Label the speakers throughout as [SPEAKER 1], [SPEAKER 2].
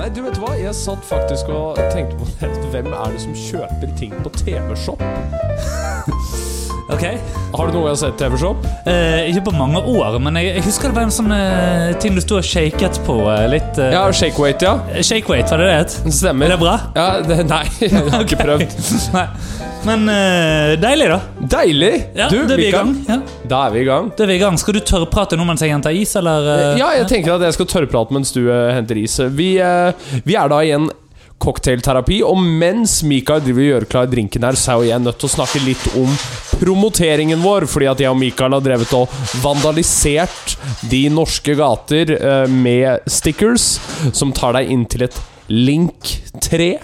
[SPEAKER 1] Nei, du vet hva? Jeg satt faktisk og tenkte på det. Hvem er det som kjøper ting på TV-shop?
[SPEAKER 2] Ok.
[SPEAKER 1] Har du noe jeg har sett TV-shop?
[SPEAKER 2] Eh, ikke på mange år, men jeg, jeg husker det var en sånn eh, ting du sto og shaket på eh, litt. eh,
[SPEAKER 1] Ja, Shakeweight, ja.
[SPEAKER 2] Shake weight, var det det het?
[SPEAKER 1] Stemmer.
[SPEAKER 2] Er det bra?
[SPEAKER 1] Ja, det, nei, jeg har ikke prøvd.
[SPEAKER 2] Nei. Men eh, deilig, da.
[SPEAKER 1] Deilig!
[SPEAKER 2] Ja,
[SPEAKER 1] du,
[SPEAKER 2] da er vi i
[SPEAKER 1] Mikael,
[SPEAKER 2] gang. Ja,
[SPEAKER 1] Da er vi i gang.
[SPEAKER 2] da er vi i gang. Skal du tørrprate nå mens jeg henter is, eller? eh?
[SPEAKER 1] Ja, jeg tenker at jeg skal tørrprate mens du eh, henter is. Vi, eh, vi er da igjen cocktailterapi, og mens Mikael driver og gjør klar drinken her, så er jo jeg nødt til å snakke litt om promoteringen vår, fordi at jeg og Mikael har drevet og vandalisert de norske gater eh, med stickers som tar deg inn til et link-tre.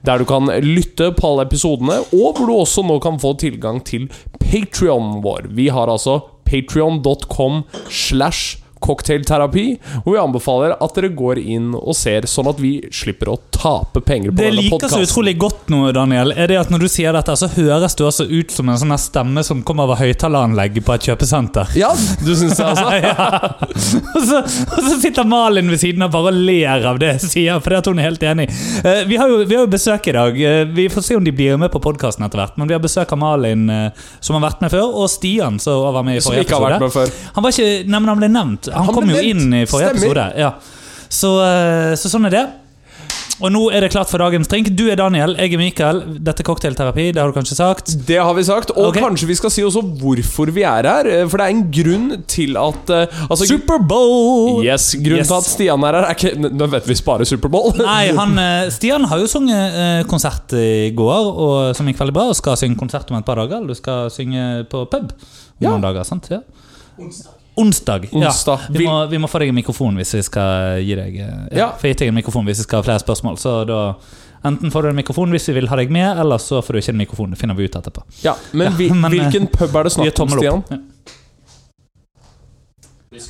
[SPEAKER 1] Der du kan lytte på alle episodene, og hvor du også nå kan få tilgang til Patreonen vår. Vi har altså patreon.com slash cocktailterapi, og vi anbefaler at dere går inn og ser, sånn at vi slipper å tape penger på
[SPEAKER 2] Det jeg
[SPEAKER 1] denne
[SPEAKER 2] liker så
[SPEAKER 1] podkasten.
[SPEAKER 2] utrolig godt nå, Daniel, er det at når du sier dette, så høres du også ut som en sånn her stemme som kommer over høyttaleranlegget på et kjøpesenter.
[SPEAKER 1] Ja, du syns det, altså?
[SPEAKER 2] Ja. Og, så, og så sitter Malin ved siden av bare og ler av det jeg sier, for det at hun er helt enig. Eh, vi, har jo, vi har jo besøk i dag. Eh, vi får se om de blir med på podkasten etter hvert. Men vi har besøk av Malin, eh, som har vært med før, og Stian, som var med i
[SPEAKER 1] Som
[SPEAKER 2] forrige
[SPEAKER 1] ikke har
[SPEAKER 2] episode.
[SPEAKER 1] vært med før.
[SPEAKER 2] Han var ikke, nei, men han ble nevnt. Han,
[SPEAKER 1] Han
[SPEAKER 2] kom
[SPEAKER 1] ble
[SPEAKER 2] jo
[SPEAKER 1] nevnt.
[SPEAKER 2] inn i forrige
[SPEAKER 1] Stemmer.
[SPEAKER 2] episode. Ja. Så, eh, så sånn er det. Og nå er det klart for dagens drink. Du er Daniel, jeg er Mikael. Dette er cocktailterapi, det har du kanskje sagt.
[SPEAKER 1] Det har vi sagt, og
[SPEAKER 2] Ok.
[SPEAKER 1] kanskje vi skal si også hvorfor vi er her. eh, For det er en grunn til at eh, altså,
[SPEAKER 2] Superbowl!
[SPEAKER 1] Yes, Grunnen
[SPEAKER 2] Yes.
[SPEAKER 1] til at Stian er her, er ikke nø- nødvendigvis bare Superbowl.
[SPEAKER 2] Nei, han, eh, Stian har jo sunget eh, konsert i går, og, som gikk veldig bra, og skal synge konsert om et par dager. Eller du skal synge på pub om
[SPEAKER 1] Ja.
[SPEAKER 2] noen dager. sant? Ja. Onsdag. ja.
[SPEAKER 1] Onsdag.
[SPEAKER 2] Vi, må, vi må få deg en mikrofon hvis vi skal gi deg eh, ja,
[SPEAKER 1] Ja.
[SPEAKER 2] få gitt deg en mikrofon hvis vi skal ha flere spørsmål. Så da Enten får du en mikrofon hvis vi vil ha deg med, eller så får du ikke en mikrofon. Det finner vi ut etterpå.
[SPEAKER 1] Ja, men,
[SPEAKER 2] Ja,
[SPEAKER 1] vi,
[SPEAKER 2] men, eh,
[SPEAKER 1] hvilken pub er det
[SPEAKER 2] Vi gir
[SPEAKER 1] snakk om,
[SPEAKER 2] tommel
[SPEAKER 1] Stian?
[SPEAKER 2] opp. Ja.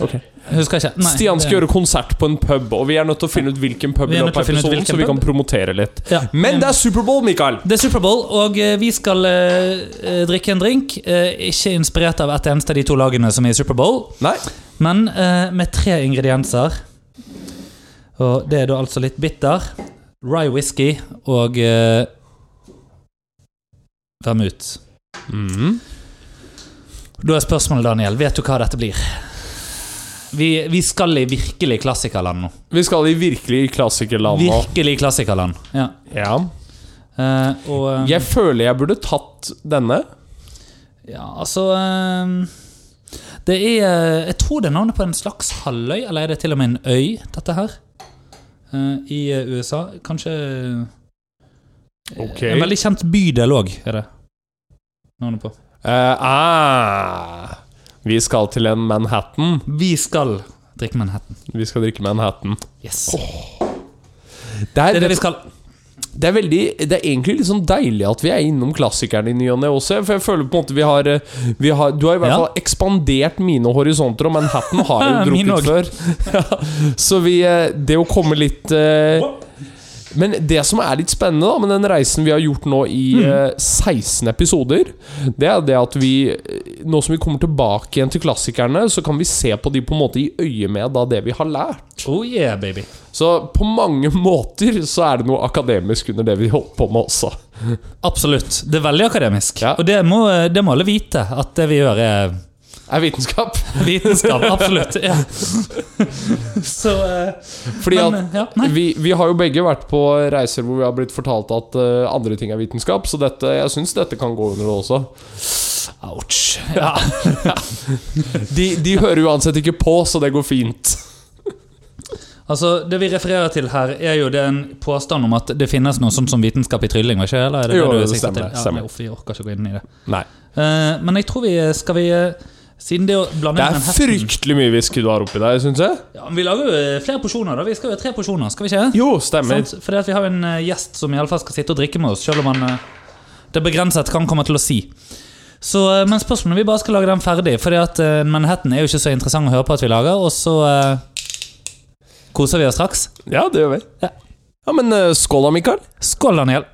[SPEAKER 1] Ok.
[SPEAKER 2] Husker jeg ikke. Nei,
[SPEAKER 1] Stian skal
[SPEAKER 2] det-
[SPEAKER 1] gjøre konsert på en pub, og vi er nødt til å finne ut hvilken pub,
[SPEAKER 2] Vi
[SPEAKER 1] i
[SPEAKER 2] er nødt
[SPEAKER 1] løpet av
[SPEAKER 2] til å finne ut
[SPEAKER 1] episoden,
[SPEAKER 2] hvilken
[SPEAKER 1] så vi
[SPEAKER 2] pub.
[SPEAKER 1] kan promotere litt.
[SPEAKER 2] Ja.
[SPEAKER 1] Men det er Superbowl, Mikael!
[SPEAKER 2] Det er Superbowl, og eh, vi skal eh, eh, drikke en drink. eh, ikke inspirert av et eneste av de to lagene som er i Superbowl,
[SPEAKER 1] Nei,
[SPEAKER 2] men eh, med tre ingredienser. Og det er da altså litt bitter, rye whisky og eh, vermut. Da er spørsmålet, Daniel, vet du hva dette blir? Vi, vi skal i virkelig klassikerland nå.
[SPEAKER 1] vi skal i virkelig klassikerland nå.
[SPEAKER 2] Virkelig klassikerland. Ja.
[SPEAKER 1] Ja.
[SPEAKER 2] Eh, og eh,
[SPEAKER 1] Jeg føler jeg burde tatt denne.
[SPEAKER 2] Ja, altså ehm, Det er eh, Jeg tror det er navnet på en slags halvøy, eller er det til og med en øy, dette her? Eh, I eh, USA. Kanskje eh,
[SPEAKER 1] Ok.
[SPEAKER 2] En veldig kjent bydel òg, er det navnet på.
[SPEAKER 1] Eh, ah. Vi skal til en Manhattan.
[SPEAKER 2] Vi skal drikke Manhattan.
[SPEAKER 1] Vi skal drikke Manhattan.
[SPEAKER 2] Yes.
[SPEAKER 1] Det
[SPEAKER 2] det
[SPEAKER 1] er,
[SPEAKER 2] er det
[SPEAKER 1] det,
[SPEAKER 2] vi skal.
[SPEAKER 1] er veldig, det er egentlig litt sånn deilig at vi er innom klassikerne i ny og ne også. For jeg føler på en måte vi har, eh, vi har Du har i hvert
[SPEAKER 2] Ja.
[SPEAKER 1] fall ekspandert mine horisonter, og Manhattan har jeg jo
[SPEAKER 2] Min
[SPEAKER 1] drukket før. Ja, så vi eh, Det å komme litt eh, men det som er litt spennende da med den reisen vi har gjort nå i eh, 16 episoder, det er det at vi eh, Nå som vi kommer tilbake igjen til klassikerne, så kan vi se på de på en måte i øye med da det vi har lært.
[SPEAKER 2] Oh yeah, baby.
[SPEAKER 1] Så på mange måter så er det noe akademisk under det vi holdt på med også.
[SPEAKER 2] Absolutt. Det er veldig akademisk.
[SPEAKER 1] Ja.
[SPEAKER 2] Og det må, eh, det må alle vite, at det vi gjør, er
[SPEAKER 1] Er vitenskap.
[SPEAKER 2] vitenskap. Absolutt. Ja. Så eh,
[SPEAKER 1] Fordi at
[SPEAKER 2] Men, ja, nei.
[SPEAKER 1] vi, vi har jo begge vært på reiser hvor vi har blitt fortalt at eh, andre ting er vitenskap, så dette, jeg syns dette kan gå under det også.
[SPEAKER 2] Ouch.
[SPEAKER 1] De, de hører uansett ikke på, så det går fint.
[SPEAKER 2] Altså, Det vi refererer til her, er jo den påstand om at det finnes noe sånt som vitenskap i trylling? var ikke det? Eller er det
[SPEAKER 1] Jo,
[SPEAKER 2] det, du
[SPEAKER 1] det
[SPEAKER 2] sikter
[SPEAKER 1] stemmer,
[SPEAKER 2] til? Ja,
[SPEAKER 1] stemmer.
[SPEAKER 2] men uff, vi orker ikke gå inn i det.
[SPEAKER 1] Nei.
[SPEAKER 2] Eh, men jeg tror vi eh, skal vi eh, Siden det å
[SPEAKER 1] Det
[SPEAKER 2] blande inn
[SPEAKER 1] er
[SPEAKER 2] Manhattan-
[SPEAKER 1] fryktelig mye whisky du har oppi deg, syns jeg.
[SPEAKER 2] Ja, men Vi lager jo eh, flere porsjoner, da. Vi skal jo ha tre porsjoner, skal vi ikke?
[SPEAKER 1] Jo, stemmer.
[SPEAKER 2] Sant? Fordi at vi har en eh, gjest som i alle fall skal sitte og drikke med oss, selv om han eh, det er begrenset hva han kommer til å si. Så, eh, men spørsmålet vi bare skal lage den ferdig, fordi at eh, Manhattan er jo ikke så interessant å høre på at vi lager, og så eh, koser vi oss straks.
[SPEAKER 1] Ja, det gjør vi.
[SPEAKER 2] Ja.
[SPEAKER 1] Ja, men eh, skål da, Mikael.
[SPEAKER 2] Skål, Daniel.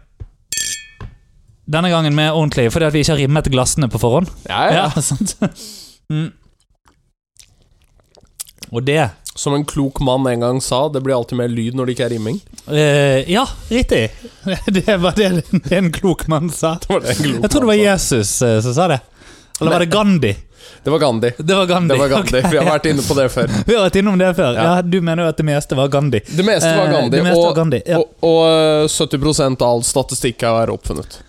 [SPEAKER 2] Denne gangen med ordentlig, fordi at vi ikke har rimmet glassene på forhånd.
[SPEAKER 1] Ja,
[SPEAKER 2] sant? Mm. Og det
[SPEAKER 1] Som en klok mann en gang sa, det blir alltid mer lyd når det ikke er rimming.
[SPEAKER 2] Eh, ja, riktig. Det var det en klok mann sa.
[SPEAKER 1] Det var det en klok
[SPEAKER 2] Jeg tror det var
[SPEAKER 1] mann sa.
[SPEAKER 2] Jesus eh, som sa det. Eller var det Gandhi?
[SPEAKER 1] Det var Gandhi.
[SPEAKER 2] Det var Gandhi.
[SPEAKER 1] Det var Gandhi.
[SPEAKER 2] ok.
[SPEAKER 1] Vi har vært inne på det før.
[SPEAKER 2] Vi har vært innom det før.
[SPEAKER 1] Ja.
[SPEAKER 2] Ja, Du mener jo at det meste var Gandhi.
[SPEAKER 1] Det meste var
[SPEAKER 2] Eh,
[SPEAKER 1] Gandhi,
[SPEAKER 2] det meste
[SPEAKER 1] og,
[SPEAKER 2] var Gandhi, ja.
[SPEAKER 1] og, og 70 av all statistikk er oppfunnet.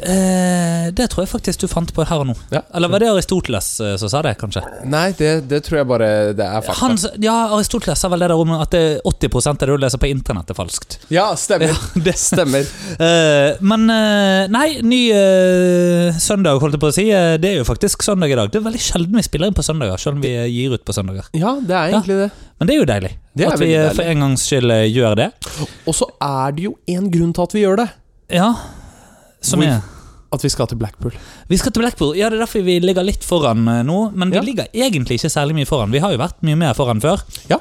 [SPEAKER 2] Eh, det tror jeg faktisk du fant på her og nå.
[SPEAKER 1] Ja.
[SPEAKER 2] Eller var det Aristoteles eh, som sa det, kanskje?
[SPEAKER 1] Nei, det, det tror jeg bare Det er fakta.
[SPEAKER 2] Han, s- ja, Aristoteles sa vel det der om at det er 80 av det du leser på internett, er falskt.
[SPEAKER 1] Ja, stemmer.
[SPEAKER 2] det
[SPEAKER 1] Stemmer.
[SPEAKER 2] Eh, men eh, Nei, ny eh, søndag, holdt jeg på å si. Eh, det er jo faktisk søndag i dag. Det er veldig sjelden vi spiller inn på søndager, selv om vi eh, gir ut på søndager.
[SPEAKER 1] Ja, det er egentlig det.
[SPEAKER 2] Men det er jo deilig.
[SPEAKER 1] Det er
[SPEAKER 2] at vi
[SPEAKER 1] veldig
[SPEAKER 2] eh,
[SPEAKER 1] deilig.
[SPEAKER 2] for en gangs skyld eh, gjør det.
[SPEAKER 1] Og så er det jo én grunn til at vi gjør det.
[SPEAKER 2] Ja. Som
[SPEAKER 1] Hvor-
[SPEAKER 2] er
[SPEAKER 1] At vi skal til Blackpool.
[SPEAKER 2] Vi skal til Blackpool. Ja, Det er derfor vi ligger litt foran eh, nå. Men vi
[SPEAKER 1] Ja.
[SPEAKER 2] ligger egentlig ikke særlig mye foran. Vi har jo vært mye mer foran før.
[SPEAKER 1] Ja.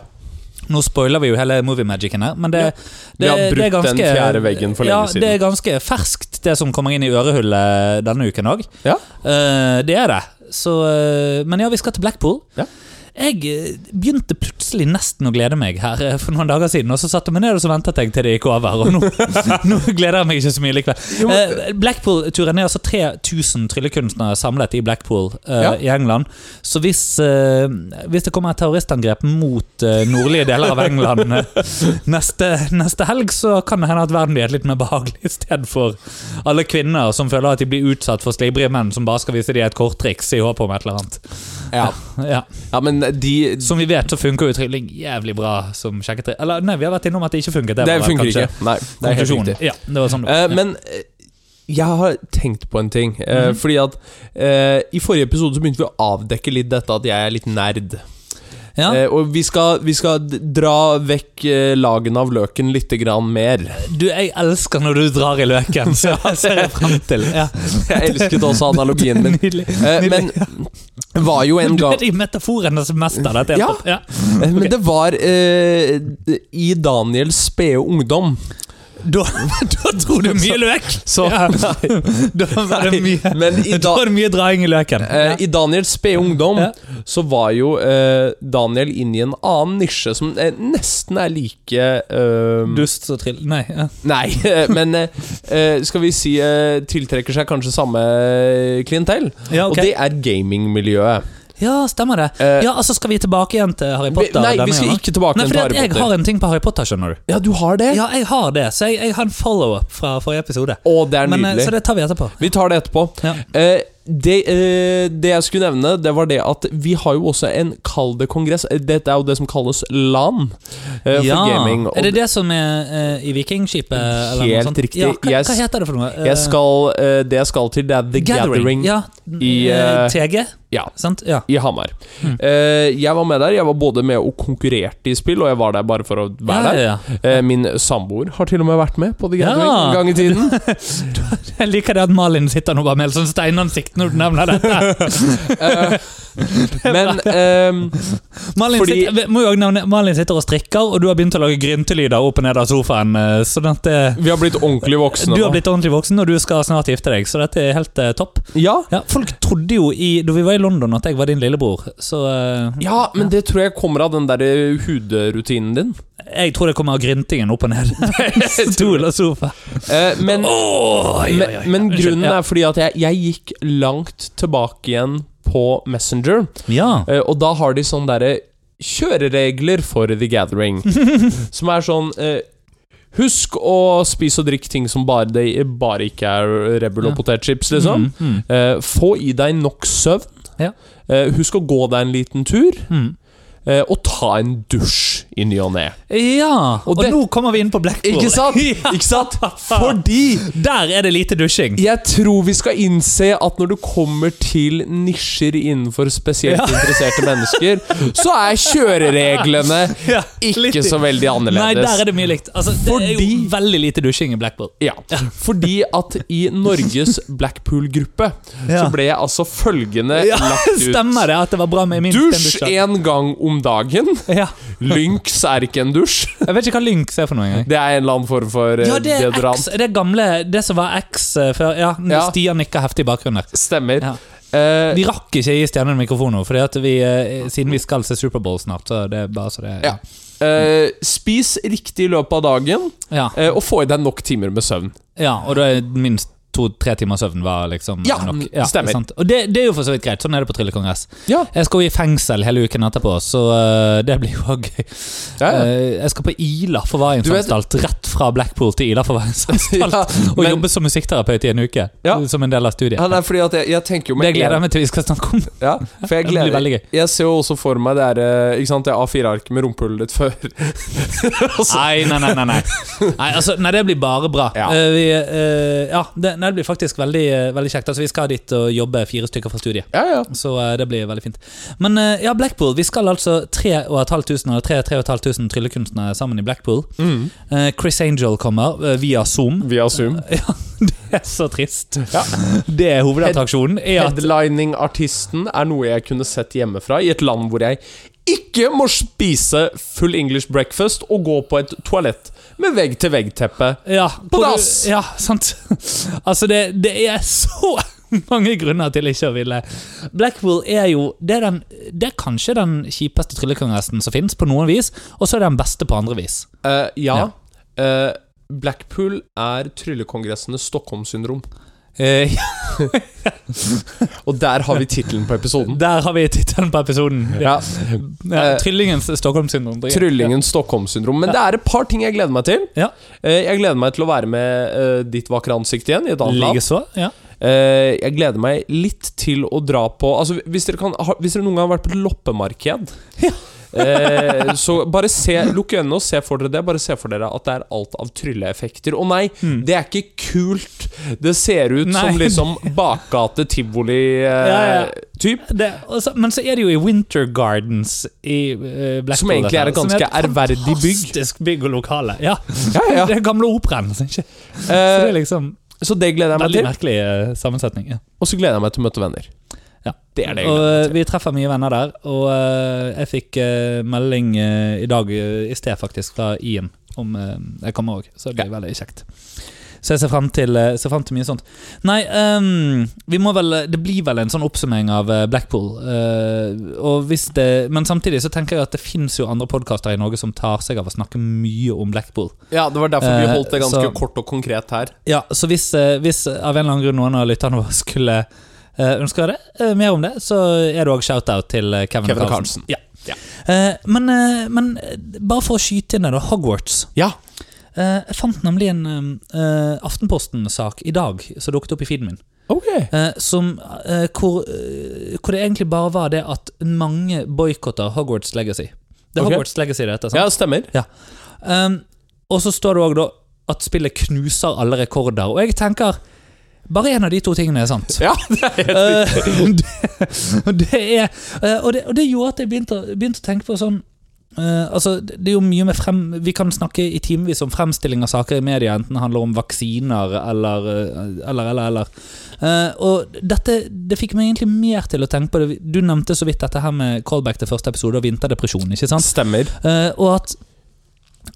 [SPEAKER 2] Nå spoiler vi jo hele Movie Magicen her, men det,
[SPEAKER 1] Ja. Vi har
[SPEAKER 2] det- det er
[SPEAKER 1] brutt den
[SPEAKER 2] ganske-
[SPEAKER 1] fjerde veggen for lenge
[SPEAKER 2] ja,
[SPEAKER 1] siden.
[SPEAKER 2] Det er ganske ferskt, det som kommer inn i ørehullet denne uken òg.
[SPEAKER 1] Ja.
[SPEAKER 2] Eh, det er det. Så, eh, men ja, vi skal til Blackpool.
[SPEAKER 1] Ja.
[SPEAKER 2] Jeg eh, begynte plutselig nesten å glede meg her eh, for noen dager siden, og så satte jeg meg ned og så ventet jeg til det gikk over. Og nå, nå gleder jeg meg ikke så mye likevel. Eh, Blackpool-turen er altså 3000 tryllekunstnere samlet i Blackpool eh,
[SPEAKER 1] Ja.
[SPEAKER 2] i England. Så hvis, eh, hvis det kommer et terroristangrep mot eh, nordlige deler av England eh, neste, neste helg, så kan det hende at verden blir et litt mer behagelig sted for alle kvinner som føler at de blir utsatt for slibrige menn som bare skal vise dem et korttriks i håp om et eller annet.
[SPEAKER 1] Ja,
[SPEAKER 2] Ja.
[SPEAKER 1] ja men de
[SPEAKER 2] Som vi vet, så funker jo trylling jævlig bra som sjekketre. Eller nei, vi har vært innom at det ikke funket.
[SPEAKER 1] Det
[SPEAKER 2] var
[SPEAKER 1] funker
[SPEAKER 2] kanskje
[SPEAKER 1] ikke. Nei, det er helt
[SPEAKER 2] konklusjonen.
[SPEAKER 1] riktig.
[SPEAKER 2] Ja, det var sånn det
[SPEAKER 1] Eh,
[SPEAKER 2] var.
[SPEAKER 1] men eh, jeg har tenkt på en ting. eh,
[SPEAKER 2] Mhm.
[SPEAKER 1] Fordi at eh, i forrige episode så begynte vi å avdekke litt dette at jeg er litt nerd.
[SPEAKER 2] ja.
[SPEAKER 1] Eh, og vi skal, vi skal d- dra vekk eh, lagene av løken litt grann mer.
[SPEAKER 2] Du, jeg elsker når du drar i løken, så det ser jeg frem til. Ja.
[SPEAKER 1] Jeg elsket også analogien min.
[SPEAKER 2] Nydelig.
[SPEAKER 1] Eh,
[SPEAKER 2] Nydelig.
[SPEAKER 1] men var jo en
[SPEAKER 2] Du
[SPEAKER 1] gang
[SPEAKER 2] er de metaforenes mester, dette. er
[SPEAKER 1] Ja.
[SPEAKER 2] topp. Ja.
[SPEAKER 1] Eh, Men det var eh, i Daniels spede ungdom.
[SPEAKER 2] Da, da dro du mye løk!
[SPEAKER 1] Så-
[SPEAKER 2] ja. Da var det mye,
[SPEAKER 1] Men i,
[SPEAKER 2] da
[SPEAKER 1] da,
[SPEAKER 2] var det mye draing i løken.
[SPEAKER 1] eh, i Daniels spede ungdom
[SPEAKER 2] Ja.
[SPEAKER 1] så var jo eh, Daniel inn i en annen nisje som eh, nesten er like eh,
[SPEAKER 2] Dust og trill... Nei. Ja.
[SPEAKER 1] Nei, men eh, eh, skal vi si eh, tiltrekker seg kanskje samme klientell.
[SPEAKER 2] Ja, ok.
[SPEAKER 1] Og det er gamingmiljøet.
[SPEAKER 2] ja, stemmer det.
[SPEAKER 1] Eh,
[SPEAKER 2] Ja, altså Skal vi tilbake igjen til Harry
[SPEAKER 1] vi-
[SPEAKER 2] Potter?
[SPEAKER 1] Nei,
[SPEAKER 2] denne
[SPEAKER 1] vi skal
[SPEAKER 2] gangen?
[SPEAKER 1] ikke tilbake
[SPEAKER 2] Nei,
[SPEAKER 1] igjen
[SPEAKER 2] fordi
[SPEAKER 1] til
[SPEAKER 2] at
[SPEAKER 1] Harry
[SPEAKER 2] jeg
[SPEAKER 1] Potter.
[SPEAKER 2] har en ting på Harry Potter, skjønner du.
[SPEAKER 1] Ja, du har det?
[SPEAKER 2] Ja, jeg har det, så jeg, jeg har en follow-up fra forrige episode.
[SPEAKER 1] Å, det er
[SPEAKER 2] Men, eh,
[SPEAKER 1] nydelig.
[SPEAKER 2] så det tar vi etterpå.
[SPEAKER 1] Vi tar det etterpå.
[SPEAKER 2] Ja.
[SPEAKER 1] Eh, det, eh, det jeg skulle nevne, det var det at vi har jo også en kall det kongress. Eh, Dette er jo det som kalles LAN eh, for gaming. og
[SPEAKER 2] Er det det som er eh, i Vikingskipet? eller noe
[SPEAKER 1] Helt
[SPEAKER 2] sånt?
[SPEAKER 1] riktig.
[SPEAKER 2] Ja, hva,
[SPEAKER 1] Jeg
[SPEAKER 2] hva
[SPEAKER 1] s-
[SPEAKER 2] heter det for noe? Eh,
[SPEAKER 1] jeg skal, eh, det jeg skal til, det er The Gathering,
[SPEAKER 2] Ja,
[SPEAKER 1] i,
[SPEAKER 2] eh,
[SPEAKER 1] eh,
[SPEAKER 2] TG,
[SPEAKER 1] ja,
[SPEAKER 2] sant? Ja.
[SPEAKER 1] i Hamar.
[SPEAKER 2] Mm.
[SPEAKER 1] Eh, jeg var med der. Jeg var både med og konkurrerte i spill, og jeg var der bare for å være der.
[SPEAKER 2] Ja, ja,
[SPEAKER 1] Eh, Min samboer har til og med vært med på The Gathering
[SPEAKER 2] Ja.
[SPEAKER 1] en gang i tiden.
[SPEAKER 2] ja. Jeg liker det at Malin sitter nå bare med helt sånn steinansikt når du nevner dette.
[SPEAKER 1] Eh, men ehm,
[SPEAKER 2] Malin,
[SPEAKER 1] Fordi-
[SPEAKER 2] sitter, må jo også nevne, Malin sitter og strikker, og du har begynt å lage gryntelyder opp og ned av sofaen. eh, Sånn at eh,
[SPEAKER 1] vi har blitt ordentlig voksne
[SPEAKER 2] du har
[SPEAKER 1] nå.
[SPEAKER 2] blitt ordentlig voksen, og du skal snart gifte deg, så dette er helt eh, topp.
[SPEAKER 1] Ja,
[SPEAKER 2] Ja, Folk trodde jo i, da vi var i London, at jeg var din lillebror, så eh,
[SPEAKER 1] ja, men det tror jeg kommer av den der eh, hudrutinen din.
[SPEAKER 2] Jeg tror det kommer av gryntingen opp og ned. Stol og sofa.
[SPEAKER 1] Eh, men,
[SPEAKER 2] Oi, oi, oi.
[SPEAKER 1] men, men grunnen
[SPEAKER 2] Unnskyld,
[SPEAKER 1] er fordi at jeg, jeg gikk langt tilbake igjen på Messenger,
[SPEAKER 2] Ja.
[SPEAKER 1] eh, og da har de sånne derre kjøreregler for The Gathering, som er sånn eh, Husk å spise og drikke ting som bare, det- bare ikke er Rebel
[SPEAKER 2] Ja.
[SPEAKER 1] og potetchips, liksom.
[SPEAKER 2] Mm,
[SPEAKER 1] Eh, få i deg nok søvn.
[SPEAKER 2] Ja.
[SPEAKER 1] Eh, husk å gå deg en liten tur,
[SPEAKER 2] mm, mm.
[SPEAKER 1] eh, og ta en dusj i ny og ne.
[SPEAKER 2] Ja, og,
[SPEAKER 1] Og det-
[SPEAKER 2] nå kommer vi inn på Blackpool.
[SPEAKER 1] Ikke sant?
[SPEAKER 2] Ja.
[SPEAKER 1] Ikke sant? Fordi
[SPEAKER 2] Der er det lite dusjing.
[SPEAKER 1] jeg tror vi skal innse at når du kommer til nisjer innenfor spesielt
[SPEAKER 2] Ja.
[SPEAKER 1] interesserte mennesker, så er kjørereglene
[SPEAKER 2] Ja,
[SPEAKER 1] ikke
[SPEAKER 2] litt-
[SPEAKER 1] så veldig
[SPEAKER 2] Nei, der
[SPEAKER 1] annerledes.
[SPEAKER 2] er det mye likt. Altså, det er jo
[SPEAKER 1] Fordi-
[SPEAKER 2] veldig lite dusjing i Blackpool.
[SPEAKER 1] Ja, fordi at i Norges Blackpool-gruppe så
[SPEAKER 2] Ja.
[SPEAKER 1] ble jeg altså følgende
[SPEAKER 2] Ja,
[SPEAKER 1] lagt ut.
[SPEAKER 2] Stemmer det at det var bra med min
[SPEAKER 1] Dusj
[SPEAKER 2] stendusj?
[SPEAKER 1] én gang om dagen.
[SPEAKER 2] Ja.
[SPEAKER 1] Lynx er ikke en dusj.
[SPEAKER 2] Jeg vet ikke hva Lynx er for noe engang.
[SPEAKER 1] Det er en eller annen form for eh,
[SPEAKER 2] Ja, det er
[SPEAKER 1] deodorant.
[SPEAKER 2] X, det gamle Det som var X eh, før. Ja,
[SPEAKER 1] Ja.
[SPEAKER 2] Stian nikker heftig i bakgrunnen der.
[SPEAKER 1] Stemmer.
[SPEAKER 2] Ja.
[SPEAKER 1] Eh,
[SPEAKER 2] Vi rakk ikke gi stjernen en mikrofon nå, fordi at vi, eh, siden vi skal se Superbowl snart. Så det er bare så det
[SPEAKER 1] ja. Eh, spis riktig i løpet av dagen,
[SPEAKER 2] ja.
[SPEAKER 1] eh, og få i deg nok timer med søvn.
[SPEAKER 2] ja og da er minst to-tre timer søvn var liksom
[SPEAKER 1] Ja, mm,
[SPEAKER 2] nok.
[SPEAKER 1] stemmer.
[SPEAKER 2] sant? Og det, det er jo for så vidt greit. Sånn er det på Tryllekongress.
[SPEAKER 1] Ja,
[SPEAKER 2] Jeg skal jo i fengsel hele uken etterpå, så eh, det blir jo også gøy.
[SPEAKER 1] ja, ja.
[SPEAKER 2] Eh, jeg skal på
[SPEAKER 1] Du
[SPEAKER 2] Ila
[SPEAKER 1] vet-
[SPEAKER 2] forvaringsanstalt. Rett fra Blackpool til Ila forvaringsanstalt.
[SPEAKER 1] Ja,
[SPEAKER 2] Og
[SPEAKER 1] men-
[SPEAKER 2] jobbe som musikkterapeut i en uke,
[SPEAKER 1] Ja.
[SPEAKER 2] som en del av studiet.
[SPEAKER 1] Ja, nei, fordi at jeg, jeg tenker jo med
[SPEAKER 2] Det gleder jeg meg til vi skal snakke om.
[SPEAKER 1] Ja, for jeg
[SPEAKER 2] Det blir
[SPEAKER 1] gleder
[SPEAKER 2] veldig gøy.
[SPEAKER 1] Jeg ser jo også for meg det er eh, Ikke sant, det A4-arket med rumpehullet ditt før. altså,
[SPEAKER 2] Nei, nei, nei. nei, nei. nei, altså, nei det blir bare bra.
[SPEAKER 1] Ja.
[SPEAKER 2] Eh, vi, eh, ja, det, nei, det blir faktisk veldig, eh, veldig kjekt. Altså, vi skal dit og jobbe fire stykker fra studiet.
[SPEAKER 1] ja, ja.
[SPEAKER 2] Så eh, det blir veldig fint. Men eh, ja, Blackpool. Vi skal altså 3500 eller 3500 tryllekunstnere sammen i Blackpool.
[SPEAKER 1] Mm.
[SPEAKER 2] Eh, Chris Angel kommer eh, via Zoom.
[SPEAKER 1] Via Zoom.
[SPEAKER 2] Ja, det er så trist.
[SPEAKER 1] Ja.
[SPEAKER 2] Det er hovedattraksjonen. Er at
[SPEAKER 1] Headlining-artisten er noe jeg kunne sett hjemmefra, i et land hvor jeg ikke må spise full English breakfast og gå på et toalett med vegg-til-vegg-teppe.
[SPEAKER 2] ja, hvor du-
[SPEAKER 1] dass!
[SPEAKER 2] Ja, sant. Altså, det, det er så mange grunner til ikke å ville Blackpool er jo Det er, den, det er kanskje den kjipeste tryllekongressen som finnes, på noen vis, og så er det den beste på andre vis.
[SPEAKER 1] Eh, ja.
[SPEAKER 2] Ja.
[SPEAKER 1] Eh, Blackpool er tryllekongressenes Stockholm-syndrom.
[SPEAKER 2] Eh,
[SPEAKER 1] Og der har vi tittelen på episoden.
[SPEAKER 2] der har vi tittelen på episoden. Ja.
[SPEAKER 1] Ja.
[SPEAKER 2] Ja,
[SPEAKER 1] Eh,
[SPEAKER 2] Tryllingens Stockholm-syndrom.
[SPEAKER 1] Tryllingen Stockholm-syndrom. Men det er et par ting jeg gleder meg til.
[SPEAKER 2] Ja.
[SPEAKER 1] Eh, Jeg gleder meg til å være med eh, ditt vakre ansikt igjen i et annet land.
[SPEAKER 2] Likeså. Ja.
[SPEAKER 1] Eh, Jeg gleder meg litt til å dra på Altså Hvis dere, kan, har- hvis dere noen gang har vært på et loppemarked eh, så bare se lukk øynene og se for dere det. Bare se for dere at det er alt av trylleeffekter. Og nei, det er ikke kult! Det ser ut
[SPEAKER 2] Hmm. Nei.
[SPEAKER 1] som liksom eh,
[SPEAKER 2] Ja, ja.
[SPEAKER 1] bakgate-tivoli-typ.
[SPEAKER 2] Det, og så- men så er det jo i Winter Gardens i eh, Blackpool.
[SPEAKER 1] Som egentlig er et
[SPEAKER 2] dette, som
[SPEAKER 1] ganske ærverdig bygg.
[SPEAKER 2] Fantastisk bygg og lokale. Ja.
[SPEAKER 1] Ja, ja.
[SPEAKER 2] Det er gamle operaen. Så ikke- så det er
[SPEAKER 1] Eh,
[SPEAKER 2] liksom
[SPEAKER 1] Så det gleder jeg meg
[SPEAKER 2] veldig
[SPEAKER 1] til.
[SPEAKER 2] merkelig eh, sammensetning. Ja.
[SPEAKER 1] Og så gleder jeg meg til å møte venner.
[SPEAKER 2] Ja.
[SPEAKER 1] Det er det jeg
[SPEAKER 2] og
[SPEAKER 1] gleder meg til.
[SPEAKER 2] eh, vi treffer mye venner der, og eh, jeg fikk eh, melding eh, i dag eh, i sted, faktisk, fra Ian om eh, jeg kommer òg, så det blir veldig kjekt. Så jeg ser frem til, eh, ser frem til mye sånt. Nei, ehm, vi må vel Det blir vel en sånn oppsummering av eh, Blackpool. eh, og hvis det, men samtidig så tenker jeg at det fins jo andre podkaster i Norge som tar seg av å snakke mye om Blackpool.
[SPEAKER 1] Ja, det var derfor vi
[SPEAKER 2] Eh,
[SPEAKER 1] holdt det ganske
[SPEAKER 2] så-
[SPEAKER 1] kort og konkret her.
[SPEAKER 2] Ja, så hvis, eh, hvis av en eller annen grunn noen av lytterne våre skulle eh, ønske det, eh, mer om det, så er det òg shout-out til eh, Kevin,
[SPEAKER 1] Kevin og
[SPEAKER 2] Carlsen.
[SPEAKER 1] Carlsen.
[SPEAKER 2] Ja.
[SPEAKER 1] Ja.
[SPEAKER 2] Eh, men, eh, men eh, bare for å skyte inn det, da. Hogwarts.
[SPEAKER 1] Ja.
[SPEAKER 2] Eh, jeg fant nemlig en eh, Aftenposten-sak i dag som dukket opp i feeden min.
[SPEAKER 1] Ok.
[SPEAKER 2] eh, som, eh, hvor, eh, hvor det egentlig bare var det at mange boikotter Hogwarts Legacy. Det er
[SPEAKER 1] Ok.
[SPEAKER 2] Hogwarts Legacy det heter, sant?
[SPEAKER 1] Ja, stemmer.
[SPEAKER 2] Um, og så står det òg da at spillet knuser alle rekorder. Og jeg tenker bare én av de to tingene er sant.
[SPEAKER 1] Ja, det er helt
[SPEAKER 2] Eh, det, det er, eh, og, det, og det gjorde at jeg begynte, å- begynte å tenke på sånn eh, altså, det det er jo mye med frem Vi kan snakke i timevis om fremstilling av saker i media, enten det handler om vaksiner eller eh, eller. eller, eller. Eh, og dette det fikk meg egentlig mer til å tenke på det. Du nevnte så vidt dette her med callback til første episode og vinterdepresjon. ikke sant?
[SPEAKER 1] Stemmer.
[SPEAKER 2] Eh, og at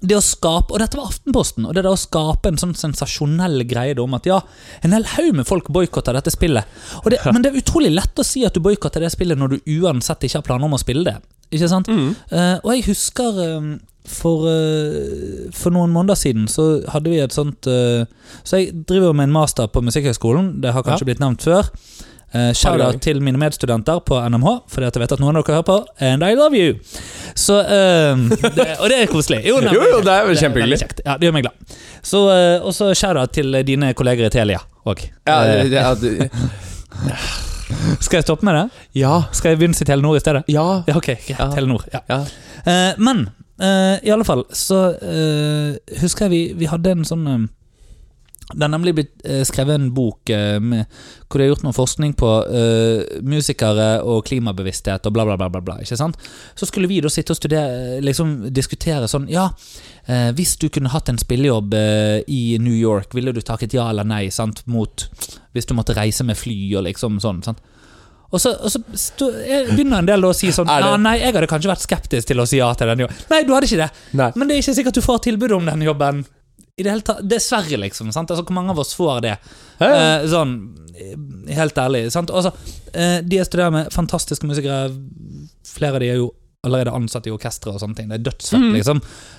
[SPEAKER 2] det å skape, og dette var Aftenposten, og det der å skape en sånn sensasjonell greie da om at ja, en hel haug med folk boikotter dette spillet. Og det, men det er utrolig lett å si at du boikotter det spillet når du uansett ikke har planer om å spille det. Ikke sant?
[SPEAKER 1] mm.
[SPEAKER 2] Eh, og jeg husker eh, for, eh, for noen måneder siden så hadde vi et sånt eh, Så jeg driver jo med en master på Musikkhøgskolen, det har kanskje blitt nevnt før. Uh,
[SPEAKER 1] ganger.
[SPEAKER 2] Shout-out til mine medstudenter på NMH, fordi at jeg vet at noen av dere hører på. And I love you! Så, eh, det, og det er koselig. Jo, nei,
[SPEAKER 1] Jo, jo, det er jo
[SPEAKER 2] det er veldig
[SPEAKER 1] kjempehyggelig.
[SPEAKER 2] kjekt. Ja, det gjør meg glad. Så, eh, og så shout-out til eh, dine kolleger i Telia òg.
[SPEAKER 1] Ja, det- ja, det-
[SPEAKER 2] skal jeg stoppe med det?
[SPEAKER 1] ja.
[SPEAKER 2] Skal jeg begynne å si Telenor i stedet?
[SPEAKER 1] ja.
[SPEAKER 2] Ja, ok. greit,
[SPEAKER 1] Ja.
[SPEAKER 2] Telenor. Ja.
[SPEAKER 1] Ja.
[SPEAKER 2] Eh, men eh, i alle fall så eh, husker jeg vi, vi hadde en sånn eh, det er nemlig blitt eh, skrevet en bok eh, med, hvor de har gjort noe forskning på eh, musikere og klimabevissthet og bla, bla, bla. bla, bla ikke sant? Så skulle vi da sitte og studere, liksom, diskutere sånn Ja, eh, hvis du kunne hatt en spillejobb eh, i New York, ville du takket ja eller nei sant, mot Hvis du måtte reise med fly og liksom sånn? sant? Og så, og så stå, jeg begynner en del da å si sånn
[SPEAKER 1] Er det-
[SPEAKER 2] «Ja, Nei, jeg hadde kanskje vært skeptisk til å si ja til den jobben. Nei, du hadde ikke det.
[SPEAKER 1] Nei.
[SPEAKER 2] Men det er ikke sikkert du får tilbud om den jobben i det hele tatt Dessverre, liksom. sant? Altså, Hvor mange av oss får det?
[SPEAKER 1] Ja, ja.
[SPEAKER 2] Eh, sånn eh, helt ærlig. Sant? Altså, eh, de jeg studerer med, fantastiske musikere. Flere av de er jo allerede ansatt i orkestre og sånne ting. Det er dødsfett,
[SPEAKER 1] Mm.
[SPEAKER 2] liksom.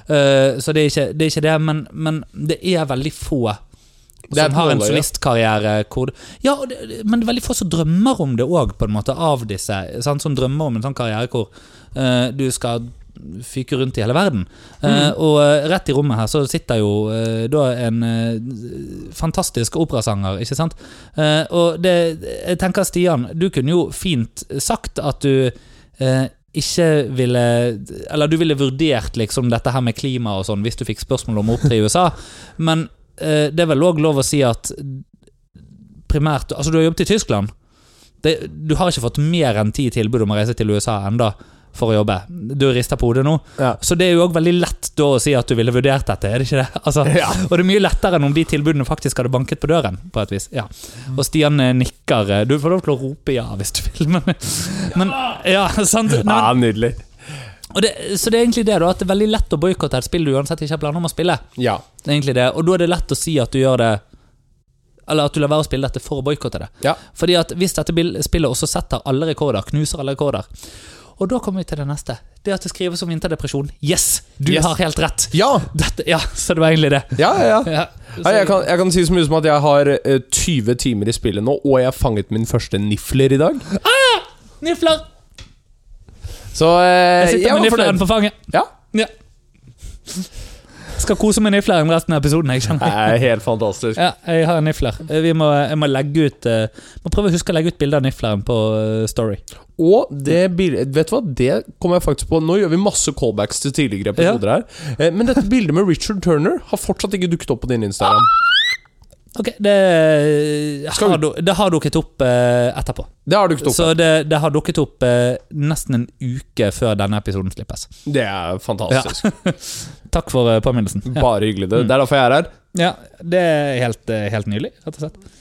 [SPEAKER 2] Eh, så det er ikke det, er ikke det men, men det er veldig få
[SPEAKER 1] Det er
[SPEAKER 2] som har en
[SPEAKER 1] nåløye.
[SPEAKER 2] solistkarriere hvor det- Ja, og det, men det er veldig få som drømmer om det òg, på en måte, av disse. Sant? Som drømmer om en sånn karriere hvor eh, du skal fyke rundt i hele verden. Eh,
[SPEAKER 1] Mm.
[SPEAKER 2] og eh, rett i rommet her så sitter jo eh, da en eh, fantastisk operasanger, ikke sant? Eh, og det, jeg tenker Stian, du kunne jo fint sagt at du eh, ikke ville Eller du ville vurdert liksom dette her med klima og sånn hvis du fikk spørsmål om å opptre i USA, men eh, det er vel òg lov å si at primært Altså, du har jobbet i Tyskland. Det, du har ikke fått mer enn ti tilbud om å reise til USA enda for å jobbe. Du rister på hodet nå.
[SPEAKER 1] Ja.
[SPEAKER 2] Så det er jo òg veldig lett da å si at du ville vurdert dette, er det ikke det? Altså,
[SPEAKER 1] Ja.
[SPEAKER 2] Og det er mye lettere enn om de tilbudene faktisk hadde banket på døren, på et vis. Ja.
[SPEAKER 1] Mm.
[SPEAKER 2] Og Stian eh, nikker. eh, Du får lov til å rope ja hvis du vil, men, men Ja, sant? Nei, men-
[SPEAKER 1] Ja, ah, nydelig.
[SPEAKER 2] og det, så det er egentlig det, da. At det er veldig lett å boikotte et spill du uansett ikke har planer om å spille.
[SPEAKER 1] Ja.
[SPEAKER 2] Det er egentlig det. Og da er det lett å si at du gjør det Eller at du lar være å spille dette for å boikotte det.
[SPEAKER 1] Ja.
[SPEAKER 2] Fordi at hvis dette bil- spillet også setter alle rekorder, knuser alle rekorder Og da kommer vi til det neste. Det at det skrives om vinterdepresjon. Yes! Du
[SPEAKER 1] Yes.
[SPEAKER 2] har helt rett!
[SPEAKER 1] Ja,
[SPEAKER 2] Dette, ja, så det var egentlig det.
[SPEAKER 1] ja, ja. ja.
[SPEAKER 2] Ja,
[SPEAKER 1] Nei, jeg, kan, jeg kan si så mye som at jeg har eh, 20 timer i spillet nå, og jeg fanget min første nifler i dag.
[SPEAKER 2] Nifler!
[SPEAKER 1] Så eh,
[SPEAKER 2] Jeg sitter
[SPEAKER 1] jeg
[SPEAKER 2] med
[SPEAKER 1] var
[SPEAKER 2] nifleren
[SPEAKER 1] fornøyd.
[SPEAKER 2] på fanget.
[SPEAKER 1] Ja.
[SPEAKER 2] Ja. Skal kose med nifleren resten av episoden. jeg skjønner
[SPEAKER 1] Det er helt fantastisk.
[SPEAKER 2] Ja, jeg har en nifler. Eh, Vi må, jeg må legge ut eh, Må prøve å huske å legge ut bilde av nifleren på eh, Story.
[SPEAKER 1] Og det bil- Vet du hva, det kom jeg faktisk på. Nå gjør vi masse callbacks til tidligere episoder her. Eh, Men dette bildet med Richard Turner har fortsatt ikke dukket opp på din Instagram.
[SPEAKER 2] Ok, det, eh,
[SPEAKER 1] Skal vi-
[SPEAKER 2] har, du- det har dukket opp eh, etterpå.
[SPEAKER 1] Det har dukket opp.
[SPEAKER 2] Så det, det har dukket opp eh, nesten en uke før denne episoden slippes.
[SPEAKER 1] Det er fantastisk.
[SPEAKER 2] Takk for eh, påminnelsen. Ja,
[SPEAKER 1] Bare hyggelig. Det Det er derfor jeg er her.
[SPEAKER 2] ja det er helt, eh, helt nylig, rett og slett.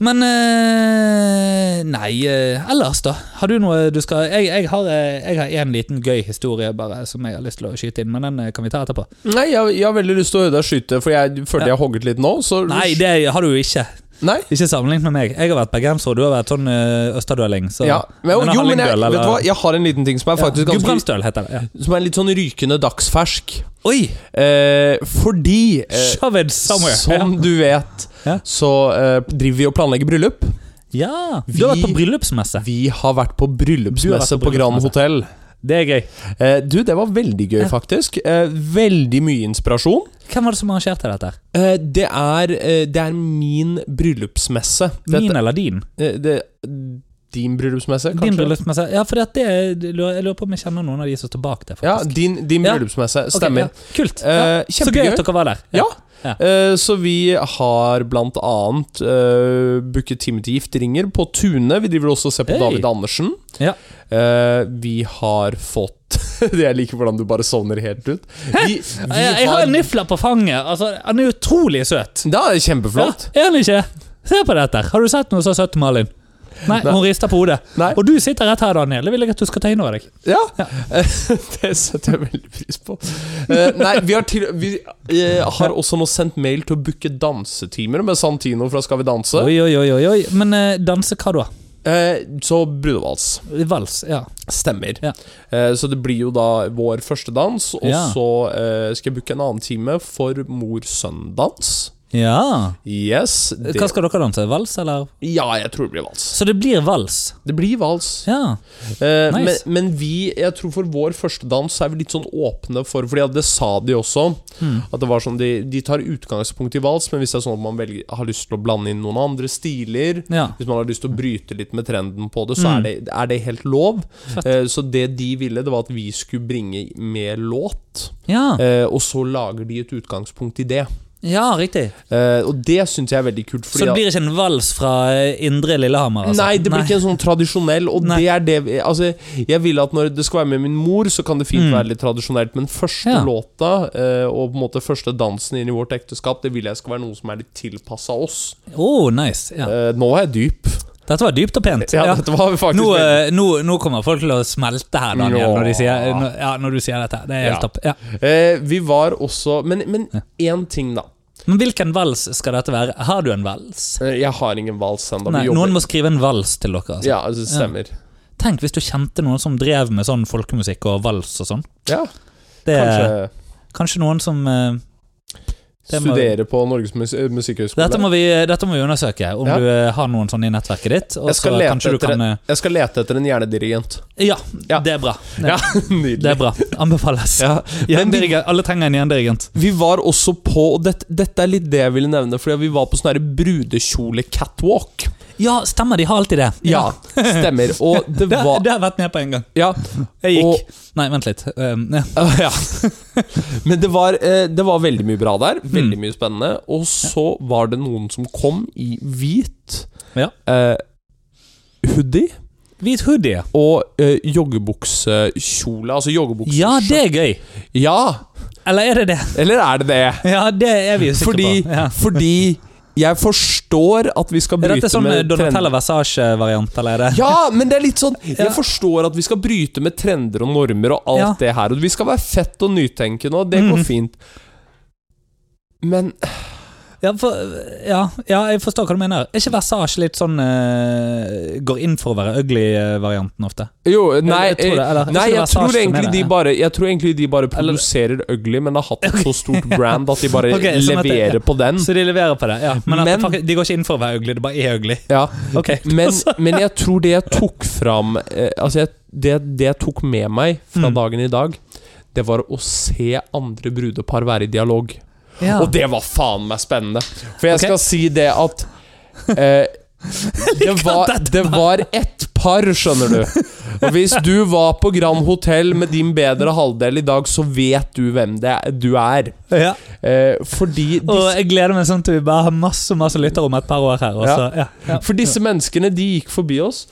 [SPEAKER 2] Men eh, Nei, eh, ellers, da? Har du noe du skal Jeg, jeg har eh, jeg har en liten gøy historie bare som jeg har lyst til å skyte inn, men den eh, kan vi ta etterpå.
[SPEAKER 1] Nei, jeg, jeg har veldig lyst til å høre deg skyte, for jeg følte
[SPEAKER 2] Ja.
[SPEAKER 1] jeg hogget litt nå. Så
[SPEAKER 2] Nei, det har du jo ikke.
[SPEAKER 1] Nei?
[SPEAKER 2] Ikke sammenlignet med meg. Jeg har vært bergenser, og du har vært sånn eh, østerdøling. Så.
[SPEAKER 1] Ja. Men, jo,
[SPEAKER 2] Men
[SPEAKER 1] jo, men jeg,
[SPEAKER 2] Hallingdøl,
[SPEAKER 1] vet du hva?
[SPEAKER 2] eller-
[SPEAKER 1] jeg har en liten ting som er faktisk
[SPEAKER 2] ja.
[SPEAKER 1] ganske
[SPEAKER 2] Gudbrandsdøl heter det. Ja.
[SPEAKER 1] Som er litt sånn rykende dagsfersk.
[SPEAKER 2] Oi!
[SPEAKER 1] Eh, fordi eh,
[SPEAKER 2] Shove it somewhere.
[SPEAKER 1] Som du vet,
[SPEAKER 2] Ja.
[SPEAKER 1] så eh, driver vi og planlegger bryllup.
[SPEAKER 2] ja. Du har vært på
[SPEAKER 1] Vi-
[SPEAKER 2] bryllupsmesse.
[SPEAKER 1] Vi har vært på
[SPEAKER 2] Du har vært
[SPEAKER 1] bryllupsmesse
[SPEAKER 2] på
[SPEAKER 1] på Grand
[SPEAKER 2] bryllupsmesse.
[SPEAKER 1] Hotell.
[SPEAKER 2] Det er gøy.
[SPEAKER 1] Eh, du, det var veldig gøy,
[SPEAKER 2] Ja.
[SPEAKER 1] faktisk. Eh, veldig mye inspirasjon.
[SPEAKER 2] Hvem var det som arrangerte dette? her?
[SPEAKER 1] Eh, det, er, eh, det er min bryllupsmesse. Dette,
[SPEAKER 2] Min eller din?
[SPEAKER 1] eh, det, din bryllupsmesse, kanskje?
[SPEAKER 2] Din bryllupsmesse. Ja, for det er, jeg lurer på om jeg kjenner noen av de som står bak det.
[SPEAKER 1] ja,
[SPEAKER 2] faktisk
[SPEAKER 1] din, din
[SPEAKER 2] Ja.
[SPEAKER 1] bryllupsmesse.
[SPEAKER 2] Ok,
[SPEAKER 1] Stemmer.
[SPEAKER 2] ja. Kult. Ja.
[SPEAKER 1] Eh,
[SPEAKER 2] Så gøy
[SPEAKER 1] kjempegøy.
[SPEAKER 2] at dere var der.
[SPEAKER 1] Ja.
[SPEAKER 2] Ja.
[SPEAKER 1] Eh, Så vi har blant annet eh, booket time til gifteringer på Tune. Vi driver også og ser på
[SPEAKER 2] Hey.
[SPEAKER 1] David Andersen.
[SPEAKER 2] Ja.
[SPEAKER 1] Eh, vi har fått Jeg liker hvordan du bare sovner helt ut. Vi, vi
[SPEAKER 2] Jeg, jeg har en nifler på fanget. Altså, Han er utrolig søt.
[SPEAKER 1] Da er det kjempeflott.
[SPEAKER 2] Ja, er han ikke? Se på dette. her. Har du sett noe så søtt, Malin? Nei,
[SPEAKER 1] Nei.
[SPEAKER 2] hun rister på hodet.
[SPEAKER 1] Nei.
[SPEAKER 2] Og du sitter rett her, Daniel. Det vil jeg at du skal ta inn over deg.
[SPEAKER 1] Ja, det setter jeg veldig pris på. Eh, nei, vi har, til, vi eh, har også nå sendt mail til å booke dansetimer med Santino fra Skal vi danse.
[SPEAKER 2] Oi, oi, oi, oi, oi. Men eh, danse hva da?
[SPEAKER 1] Eh, så brudevals.
[SPEAKER 2] Vals, ja.
[SPEAKER 1] Stemmer.
[SPEAKER 2] Ja.
[SPEAKER 1] Eh, så det blir jo da vår første dans, og
[SPEAKER 2] Ja.
[SPEAKER 1] så eh, skal jeg booke en annen time for mor-sønn-dans.
[SPEAKER 2] Ja.
[SPEAKER 1] Yes. Det,
[SPEAKER 2] Eh, Hva skal dere danse? Vals, eller?
[SPEAKER 1] ja, jeg tror det blir vals.
[SPEAKER 2] Så det blir vals.
[SPEAKER 1] Det blir vals.
[SPEAKER 2] Ja.
[SPEAKER 1] Eh, men,
[SPEAKER 2] nice.
[SPEAKER 1] men vi, jeg tror for vår første dans så er vi litt sånn åpne for Fordi at det sa de også.
[SPEAKER 2] Hmm.
[SPEAKER 1] At det var sånn, de, de tar utgangspunkt i vals, men hvis det er sånn at man velger, har lyst til å blande inn noen andre stiler
[SPEAKER 2] ja.
[SPEAKER 1] hvis man har lyst til å bryte litt med trenden på det, så er det, er det helt lov.
[SPEAKER 2] Mm. Fett.
[SPEAKER 1] Eh, så det de ville, det var at vi skulle bringe med låt,
[SPEAKER 2] Ja,
[SPEAKER 1] eh, og så lager de et utgangspunkt i det.
[SPEAKER 2] ja riktig.
[SPEAKER 1] Eh, og det syns jeg er veldig kult.
[SPEAKER 2] Så det blir ikke en vals fra eh, indre Lillehammer? Altså.
[SPEAKER 1] Nei, det blir ikke en sånn tradisjonell, og
[SPEAKER 2] Nei.
[SPEAKER 1] det er det vi- Altså, jeg vil at når det skal være med min mor, så kan det fint
[SPEAKER 2] Mm.
[SPEAKER 1] være litt tradisjonelt, men første
[SPEAKER 2] Ja.
[SPEAKER 1] låta, eh, og på en måte første dansen inn i vårt ekteskap, det vil jeg skal være noe som er litt tilpassa oss.
[SPEAKER 2] Å, nice. Ja.
[SPEAKER 1] Eh, nå er jeg dyp.
[SPEAKER 2] Dette var dypt og pent.
[SPEAKER 1] Ja,
[SPEAKER 2] Ja.
[SPEAKER 1] dette var faktisk
[SPEAKER 2] Nå,
[SPEAKER 1] veldig-
[SPEAKER 2] eh, nå, nå kommer folk til å smelte her, Daniel, når, de sier,
[SPEAKER 1] Ja.
[SPEAKER 2] når, ja, når du sier dette. Det er helt
[SPEAKER 1] Ja.
[SPEAKER 2] topp. Ja.
[SPEAKER 1] Eh, Vi var også Men, men én ting, da.
[SPEAKER 2] Men hvilken vals skal dette være? Har du en vals?
[SPEAKER 1] Eh, Jeg har ingen vals ennå.
[SPEAKER 2] Nei,
[SPEAKER 1] Vi jobber
[SPEAKER 2] noen må skrive en vals til dere. Altså.
[SPEAKER 1] Ja, det stemmer.
[SPEAKER 2] Tenk hvis du kjente noen som drev med sånn folkemusikk og vals og sånn.
[SPEAKER 1] Ja,
[SPEAKER 2] Det er kanskje,
[SPEAKER 1] kanskje
[SPEAKER 2] noen som eh, det må-
[SPEAKER 1] studere på Norges mus musikkhøgskole.
[SPEAKER 2] dette, må vi, dette må vi undersøke, om
[SPEAKER 1] Ja.
[SPEAKER 2] du eh, har noen sånne i nettverket ditt. Og
[SPEAKER 1] Jeg skal
[SPEAKER 2] så
[SPEAKER 1] lete
[SPEAKER 2] kanskje du
[SPEAKER 1] etter
[SPEAKER 2] kan eh,
[SPEAKER 1] Jeg skal lete etter en hjernedirigent.
[SPEAKER 2] ja,
[SPEAKER 1] Ja.
[SPEAKER 2] det er bra.
[SPEAKER 1] Ja,
[SPEAKER 2] Det
[SPEAKER 1] nydelig.
[SPEAKER 2] er bra. Anbefales.
[SPEAKER 1] Ja, men vi,
[SPEAKER 2] Jerndirigent- Alle trenger en jerndirigent.
[SPEAKER 1] vi var også på og dette, dette er litt det jeg ville nevne, fordi vi var på sånn her brudekjole-catwalk.
[SPEAKER 2] Ja, stemmer, de har alltid det.
[SPEAKER 1] Ja, stemmer. Og det
[SPEAKER 2] Det,
[SPEAKER 1] var
[SPEAKER 2] det har jeg vært med på en gang.
[SPEAKER 1] Ja,
[SPEAKER 2] Jeg gikk.
[SPEAKER 1] og
[SPEAKER 2] Nei, vent litt. Um, ja.
[SPEAKER 1] Ah, ja. Men det var, eh, det var veldig mye bra der.
[SPEAKER 2] Mm.
[SPEAKER 1] Veldig mye spennende. Og så var det noen som kom i hvit
[SPEAKER 2] Ja.
[SPEAKER 1] eh, hoodie
[SPEAKER 2] Hvit hoodie.
[SPEAKER 1] og eh, joggebuksekjole. Altså joggebukse
[SPEAKER 2] Ja, det er gøy.
[SPEAKER 1] Ja!
[SPEAKER 2] Eller er det det?
[SPEAKER 1] Eller er det det?
[SPEAKER 2] Ja, det er vi jo sikre
[SPEAKER 1] Fordi,
[SPEAKER 2] på. Ja.
[SPEAKER 1] fordi jeg forstår at vi skal
[SPEAKER 2] Er
[SPEAKER 1] bryte
[SPEAKER 2] dette sånn eh,
[SPEAKER 1] med
[SPEAKER 2] Donatella Versace-variant, eller er det
[SPEAKER 1] Ja, men det er litt sånn
[SPEAKER 2] Ja.
[SPEAKER 1] Jeg forstår at vi skal bryte med trender og normer og alt
[SPEAKER 2] Ja.
[SPEAKER 1] det her. Og vi skal være fett og nytenkende, og det går
[SPEAKER 2] Mhm.
[SPEAKER 1] fint. Men
[SPEAKER 2] Ja, for, ja, ja, jeg forstår hva du mener. Er ikke Versace litt sånn eh, Går inn for å være ugly-varianten ofte?
[SPEAKER 1] Jo, nei,
[SPEAKER 2] jeg tror det, eller-
[SPEAKER 1] eh, nei
[SPEAKER 2] jeg tror det
[SPEAKER 1] jeg,
[SPEAKER 2] var
[SPEAKER 1] tror
[SPEAKER 2] Sars som
[SPEAKER 1] egentlig
[SPEAKER 2] mener
[SPEAKER 1] de
[SPEAKER 2] det.
[SPEAKER 1] bare, jeg tror egentlig de bare
[SPEAKER 2] Eller-
[SPEAKER 1] produserer ugly, men har hatt et så stort brand at de bare
[SPEAKER 2] Ok, sånn at det-
[SPEAKER 1] leverer på den.
[SPEAKER 2] Så de leverer på det, ja. Men, at
[SPEAKER 1] Men-
[SPEAKER 2] faktisk, de går ikke inn for å være ugly, det bare er ugly.
[SPEAKER 1] Ja.
[SPEAKER 2] Ok,
[SPEAKER 1] Men, men jeg tror det jeg tok fram eh, Altså, jeg, det, det jeg tok med meg fra
[SPEAKER 2] Mm.
[SPEAKER 1] dagen i dag, det var å se andre brudepar være i dialog.
[SPEAKER 2] ja.
[SPEAKER 1] Og det var faen meg spennende. For jeg
[SPEAKER 2] Ok.
[SPEAKER 1] skal si det at eh, det, var, det var ett par, skjønner du. Og hvis du var på Grand Hotell med din bedre halvdel i dag, så vet du hvem det er, du er.
[SPEAKER 2] ja.
[SPEAKER 1] Eh, fordi
[SPEAKER 2] Og
[SPEAKER 1] disse,
[SPEAKER 2] jeg gleder meg sånn til vi bare har masse masse lyttere om et par år her. Og
[SPEAKER 1] Ja.
[SPEAKER 2] så, ja. Ja.
[SPEAKER 1] for disse menneskene, de gikk forbi oss,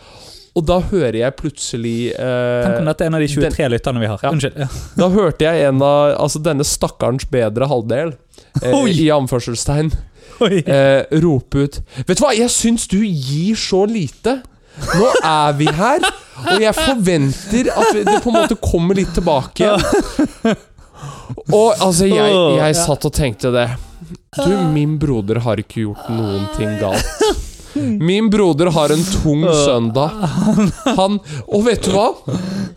[SPEAKER 1] og da hører jeg plutselig eh,
[SPEAKER 2] Tenk om dette er en av de 23 lytterne vi har.
[SPEAKER 1] Ja.
[SPEAKER 2] Unnskyld. Ja.
[SPEAKER 1] Da hørte jeg en av Altså denne stakkarens bedre halvdel, eh,
[SPEAKER 2] Oi.
[SPEAKER 1] i anførselstegn,
[SPEAKER 2] Oi.
[SPEAKER 1] eh, rope ut Vet du hva, jeg syns du gir så lite. Nå er vi her, og jeg forventer at vi- det på en måte kommer litt tilbake igjen. Og altså, jeg, jeg satt og tenkte det. Du, min broder har ikke gjort noen ting galt. Min broder har en tung søndag. Han Og vet du hva?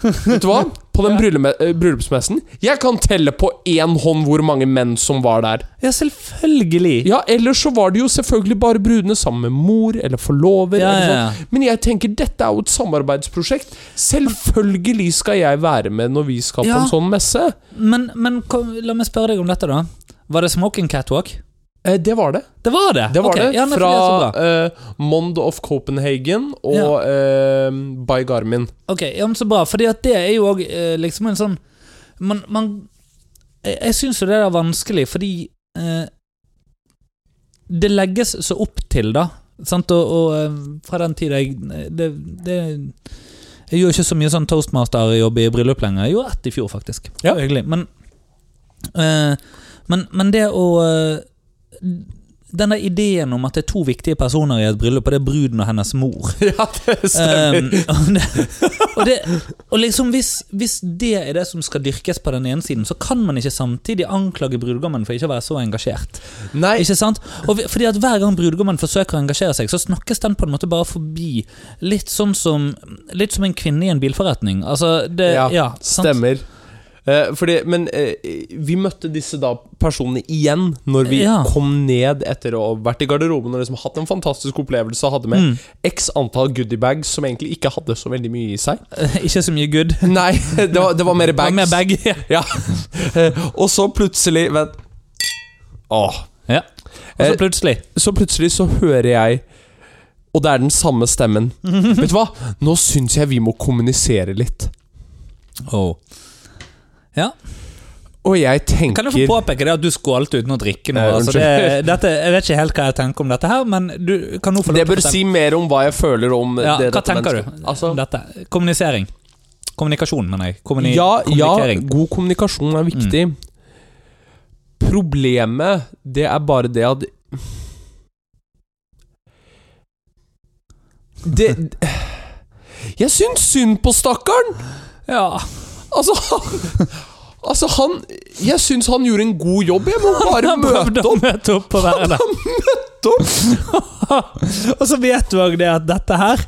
[SPEAKER 1] Vet du hva? På den bryllume- eh, bryllupsmessen Jeg kan telle på én hånd hvor mange menn som var der.
[SPEAKER 2] ja, selvfølgelig.
[SPEAKER 1] Ja, ellers så var det jo selvfølgelig bare brudene sammen med mor eller forlover.
[SPEAKER 2] Ja,
[SPEAKER 1] eller
[SPEAKER 2] ja,
[SPEAKER 1] sånn.
[SPEAKER 2] ja.
[SPEAKER 1] Men jeg tenker dette er jo et samarbeidsprosjekt. Selvfølgelig skal jeg være med når vi skal på
[SPEAKER 2] Ja.
[SPEAKER 1] en sånn messe.
[SPEAKER 2] Men, men kom, la meg spørre deg om dette, da. Var det smoking catwalk?
[SPEAKER 1] Eh, det var det.
[SPEAKER 2] Det var det!
[SPEAKER 1] Det var
[SPEAKER 2] Ok,
[SPEAKER 1] det.
[SPEAKER 2] Ja, nei, for
[SPEAKER 1] Fra
[SPEAKER 2] det er så bra.
[SPEAKER 1] eh, Mond of Copenhagen og
[SPEAKER 2] Ja.
[SPEAKER 1] eh, By Garmin.
[SPEAKER 2] Ok, ja, men så bra, fordi at det er jo òg eh, liksom en sånn Man, man Jeg, jeg syns jo det er vanskelig, fordi eh, Det legges så opp til, da. Sant? Og, og eh, fra den tida jeg eh, det, det Jeg gjorde ikke så mye sånn toastmasterjobb i bryllup lenger. Jeg gjorde ett i fjor, faktisk. Det var Hyggelig. Men, eh, men, men det å eh, Den der ideen om at det er to viktige personer i et bryllup, og det er bruden og hennes mor
[SPEAKER 1] ja, det stemmer.
[SPEAKER 2] Um, og, det, og, det, og liksom hvis, hvis det er det som skal dyrkes på den ene siden, så kan man ikke samtidig anklage brudgommen for ikke å være så engasjert.
[SPEAKER 1] Nei,
[SPEAKER 2] Ikke sant? Og vi, fordi at Hver gang brudgommen forsøker å engasjere seg, så snakkes den på en måte bare forbi. Litt sånn som Litt som en kvinne i en bilforretning. Altså, det,
[SPEAKER 1] Ja,
[SPEAKER 2] ja, sant?
[SPEAKER 1] stemmer. Eh, fordi, men eh, vi møtte disse da personene igjen når vi
[SPEAKER 2] Ja.
[SPEAKER 1] kom ned etter å ha vært i garderoben og liksom hatt en fantastisk opplevelse. og Hadde med
[SPEAKER 2] Mm.
[SPEAKER 1] x antall goodiebags som egentlig ikke hadde så veldig mye i seg.
[SPEAKER 2] Ikke så mye good.
[SPEAKER 1] Nei, det var, det var mer
[SPEAKER 2] Hva
[SPEAKER 1] bags.
[SPEAKER 2] med bag?
[SPEAKER 1] Ja. Eh, og så plutselig Vent. Åh.
[SPEAKER 2] Ja. Og
[SPEAKER 1] Eh,
[SPEAKER 2] så plutselig
[SPEAKER 1] Så plutselig så hører jeg Og det er den samme stemmen. Vet du hva? Nå syns jeg vi må kommunisere litt.
[SPEAKER 2] oh. Ja.
[SPEAKER 1] Og jeg tenker
[SPEAKER 2] Kan jeg få påpeke det at du skålte uten å drikke nå?
[SPEAKER 1] Nei,
[SPEAKER 2] altså det,
[SPEAKER 1] Eh, unnskyld.
[SPEAKER 2] dette, jeg vet ikke helt hva jeg tenker om dette her, men du kan nå få
[SPEAKER 1] Det
[SPEAKER 2] lov til å
[SPEAKER 1] bør
[SPEAKER 2] bestemme.
[SPEAKER 1] si mer om hva jeg føler om
[SPEAKER 2] ja,
[SPEAKER 1] det.
[SPEAKER 2] Hva
[SPEAKER 1] dette
[SPEAKER 2] tenker du
[SPEAKER 1] mennesket. Altså,
[SPEAKER 2] om dette? Kommunisering. Kommunikasjon, mener jeg. Kommuni
[SPEAKER 1] ja, ja,
[SPEAKER 2] kommunikering. Mm.
[SPEAKER 1] god kommunikasjon er viktig. Problemet, det er bare det at det Jeg syns synd på stakkaren!
[SPEAKER 2] Ja.
[SPEAKER 1] Altså, han Altså, han Jeg syns han gjorde en god jobb, jeg må bare
[SPEAKER 2] Han
[SPEAKER 1] møte
[SPEAKER 2] prøvde å møte opp og være der.
[SPEAKER 1] opp!
[SPEAKER 2] Og så vet du òg det at dette her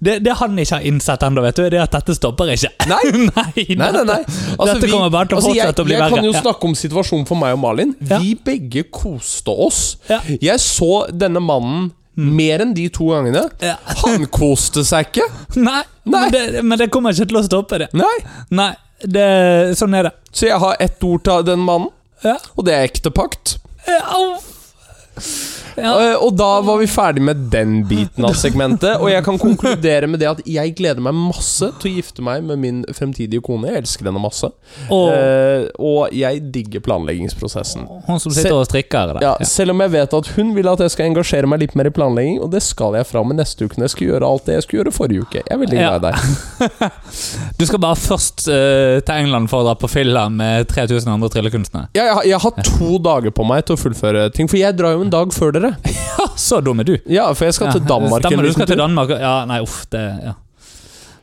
[SPEAKER 2] det, det han ikke har innsett ennå, vet du, det er at dette stopper ikke.
[SPEAKER 1] Nei.
[SPEAKER 2] nei,
[SPEAKER 1] Nei, nei, nei. Altså,
[SPEAKER 2] Dette kommer bare til å
[SPEAKER 1] altså, jeg-
[SPEAKER 2] fortsette å bli
[SPEAKER 1] Jeg kan
[SPEAKER 2] verre.
[SPEAKER 1] jo
[SPEAKER 2] Ja.
[SPEAKER 1] snakke om situasjonen for meg og Malin.
[SPEAKER 2] Ja.
[SPEAKER 1] Vi begge koste oss.
[SPEAKER 2] Ja. Mm.
[SPEAKER 1] Jeg så denne mannen mer enn de to gangene.
[SPEAKER 2] Ja.
[SPEAKER 1] Han koste seg ikke.
[SPEAKER 2] Nei,
[SPEAKER 1] Nei.
[SPEAKER 2] Men, det, men det kommer ikke til å stoppe det.
[SPEAKER 1] Nei.
[SPEAKER 2] Nei, det, sånn er det.
[SPEAKER 1] Så jeg har ett ord til den mannen,
[SPEAKER 2] Ja.
[SPEAKER 1] og det er ektepakt.
[SPEAKER 2] Ja, Au! Ja.
[SPEAKER 1] Eh, Og da var vi ferdig med den biten av segmentet. Og jeg kan konkludere med det at jeg gleder meg masse til å gifte meg med min fremtidige kone. Jeg elsker henne masse.
[SPEAKER 2] Og
[SPEAKER 1] Eh, Og jeg digger planleggingsprosessen.
[SPEAKER 2] hun som sitter og strikker der.
[SPEAKER 1] Ja, selv om jeg vet at hun vil at jeg skal engasjere meg litt mer i planlegging, og det skal jeg fra med neste uke når jeg skal gjøre alt det jeg skulle gjøre forrige uke. Jeg er veldig glad i deg.
[SPEAKER 2] Du skal bare først eh, til England for å dra på fylla med 3000 andre tryllekunstnere.
[SPEAKER 1] Jeg, jeg, har- jeg har to dager på meg til å fullføre ting, for jeg drar jo en dag før dere.
[SPEAKER 2] Ha, så dum er du!
[SPEAKER 1] Ja, for jeg skal til Danmark en
[SPEAKER 2] Stemmer, du
[SPEAKER 1] liten
[SPEAKER 2] skal til
[SPEAKER 1] tur.
[SPEAKER 2] Danmark. Ja, nei, uff, det ja.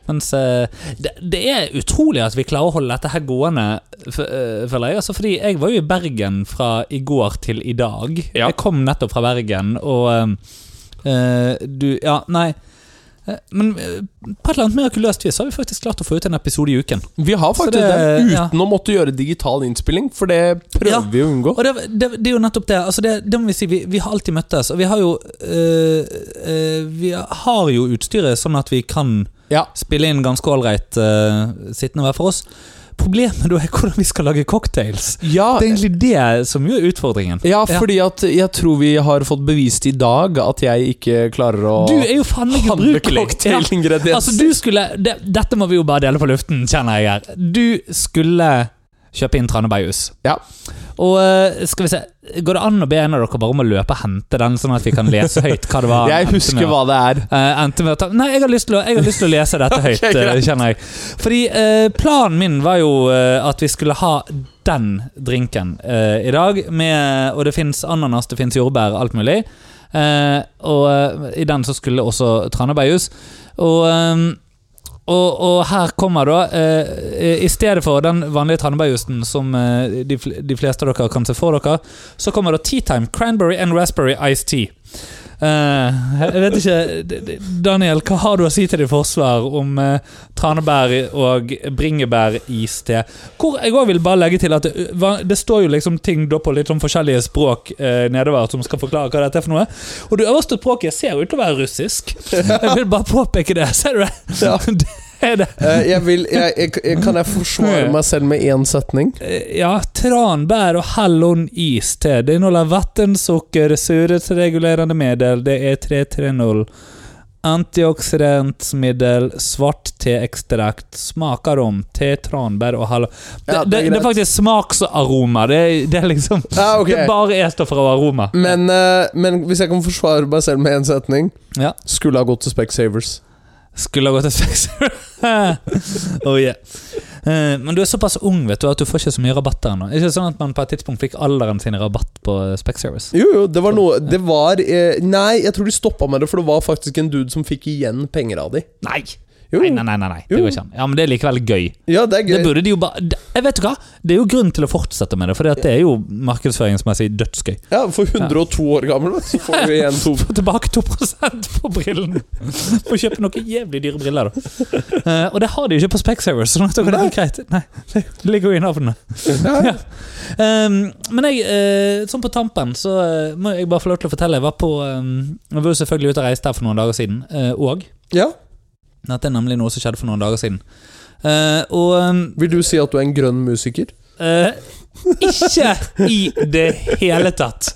[SPEAKER 2] Mens eh, det, det er utrolig at vi klarer å holde dette her gående, f- eh, føler jeg. Altså, fordi jeg var jo i Bergen fra i går til i dag.
[SPEAKER 1] Ja.
[SPEAKER 2] Jeg kom nettopp fra Bergen, og eh, eh, du Ja, nei. Eh, Men eh, på et eller annet mirakuløst vis så har vi faktisk klart å få ut en episode i uken.
[SPEAKER 1] Vi har faktisk
[SPEAKER 2] Så
[SPEAKER 1] det,
[SPEAKER 2] det- ja.
[SPEAKER 1] uten å måtte gjøre digital innspilling, for det prøver
[SPEAKER 2] Ja.
[SPEAKER 1] vi å unngå.
[SPEAKER 2] Og det, det, det er jo nettopp det. Altså det, det må Vi si Vi, vi har alltid møttes, og vi har jo eh, eh, Vi har jo utstyret sånn at vi kan
[SPEAKER 1] Ja.
[SPEAKER 2] spille inn ganske ålreit eh, sittende hver for oss. Problemet da er hvordan vi skal lage cocktails.
[SPEAKER 1] Ja,
[SPEAKER 2] Det er egentlig det som jo er utfordringen.
[SPEAKER 1] ja, fordi at jeg tror vi har fått bevist i dag at jeg ikke klarer å
[SPEAKER 2] Du er jo faen meg
[SPEAKER 1] handle
[SPEAKER 2] ubrukelig! Ja.
[SPEAKER 1] cocktailingredienser.
[SPEAKER 2] Altså, du skulle det, Dette må vi jo bare dele på luften, kjenner jeg her. Du skulle kjøpe inn tranebærjus.
[SPEAKER 1] Ja.
[SPEAKER 2] Og eh, skal vi se Går det an å be en av dere bare om å løpe og hente den, sånn at vi kan lese høyt hva det var? han
[SPEAKER 1] Jeg
[SPEAKER 2] endte med
[SPEAKER 1] husker
[SPEAKER 2] å-
[SPEAKER 1] hva det er.
[SPEAKER 2] Eh, endte med å ta Nei, jeg har lyst til å, jeg har lyst til å lese dette høyt, eh,
[SPEAKER 1] greit.
[SPEAKER 2] kjenner jeg. Fordi eh, planen min var jo eh, at vi skulle ha den drinken eh, i dag. Med, og det fins ananas, det fins jordbær, alt mulig. Eh, og eh, i den så skulle også tranebærjus. Og, eh, og, og her kommer da eh, I stedet for den vanlige tranebærjusen som eh, de, fl- de fleste av dere kan se for dere, så kommer da Tea Time Cranberry and Raspberry Ice Tea. Eh, jeg vet ikke D- D- Daniel, hva har du å si til ditt forsvar om eh, tranebær og bringebæriste? Hvor jeg også vil bare legge til at det, hva- det står jo liksom ting da på litt sånn forskjellige språk eh, nedover som skal forklare hva dette er for noe. Og det øverste språket ser ut til å være russisk. Jeg vil bare påpeke det. Ser du det?
[SPEAKER 1] Ja.
[SPEAKER 2] det er det.
[SPEAKER 1] Eh, jeg vil, jeg, jeg, jeg, kan jeg forsvare meg selv med én setning?
[SPEAKER 2] Eh, Ja, tranbær og hellon is te. Det inneholder vann, sukker, surhetsregulerende middel. Det er 330. Antioksidantsmiddel, svart teekstrakt, smaker om te, tranbær og hallon det,
[SPEAKER 1] Ja, det er
[SPEAKER 2] det, det
[SPEAKER 1] greit.
[SPEAKER 2] er faktisk smaksaroma. Det, er- det er liksom
[SPEAKER 1] Ja, ok.
[SPEAKER 2] Det bare er stoffer og aroma.
[SPEAKER 1] Men, eh, men hvis jeg kan forsvare meg selv med én setning
[SPEAKER 2] Ja.
[SPEAKER 1] Skulle ha gått til Specsavers.
[SPEAKER 2] Skulle ha gått til Spexer. oh, yeah. Eh, Men du er såpass ung vet du at du får ikke så mye rabatter ennå. Er det Ikke sånn at man på et tidspunkt fikk alderen sin i rabatt på Spexervice.
[SPEAKER 1] Jo, jo, det var noe Det var eh, Nei, jeg tror de stoppa med det, for det var faktisk en dude som fikk igjen penger av de.
[SPEAKER 2] Nei.
[SPEAKER 1] Jo.
[SPEAKER 2] Nei, nei, nei, nei, nei. Det
[SPEAKER 1] Jo.
[SPEAKER 2] går ikke an. Ja, Men det er likevel gøy.
[SPEAKER 1] Ja, det er gøy.
[SPEAKER 2] Det burde de jo bare Det- Jeg vet du hva? Det er jo grunn til å fortsette med det, for det er jo markedsføringsmessig dødsgøy.
[SPEAKER 1] Ja, For 102 år gammel, da, så får du igjen to
[SPEAKER 2] Få tilbake 2 på brillene! Få kjøpe noen jævlig dyre briller, da. Eh, og det har de jo ikke på Specsavers, sånn at det er helt greit. Nei, det ligger jo i navnet.
[SPEAKER 1] ja.
[SPEAKER 2] Ehm, men jeg, eh, sånn på tampen så eh, må jeg bare få lov til å fortelle. Jeg var på ehm, Jeg var jo selvfølgelig ute og reiste her for noen dager siden. eh, og
[SPEAKER 1] ja.
[SPEAKER 2] dette er nemlig noe som skjedde for noen dager siden. Eh, og ehm,
[SPEAKER 1] Vil du si at du er en grønn musiker?
[SPEAKER 2] eh, Ikke i det hele tatt.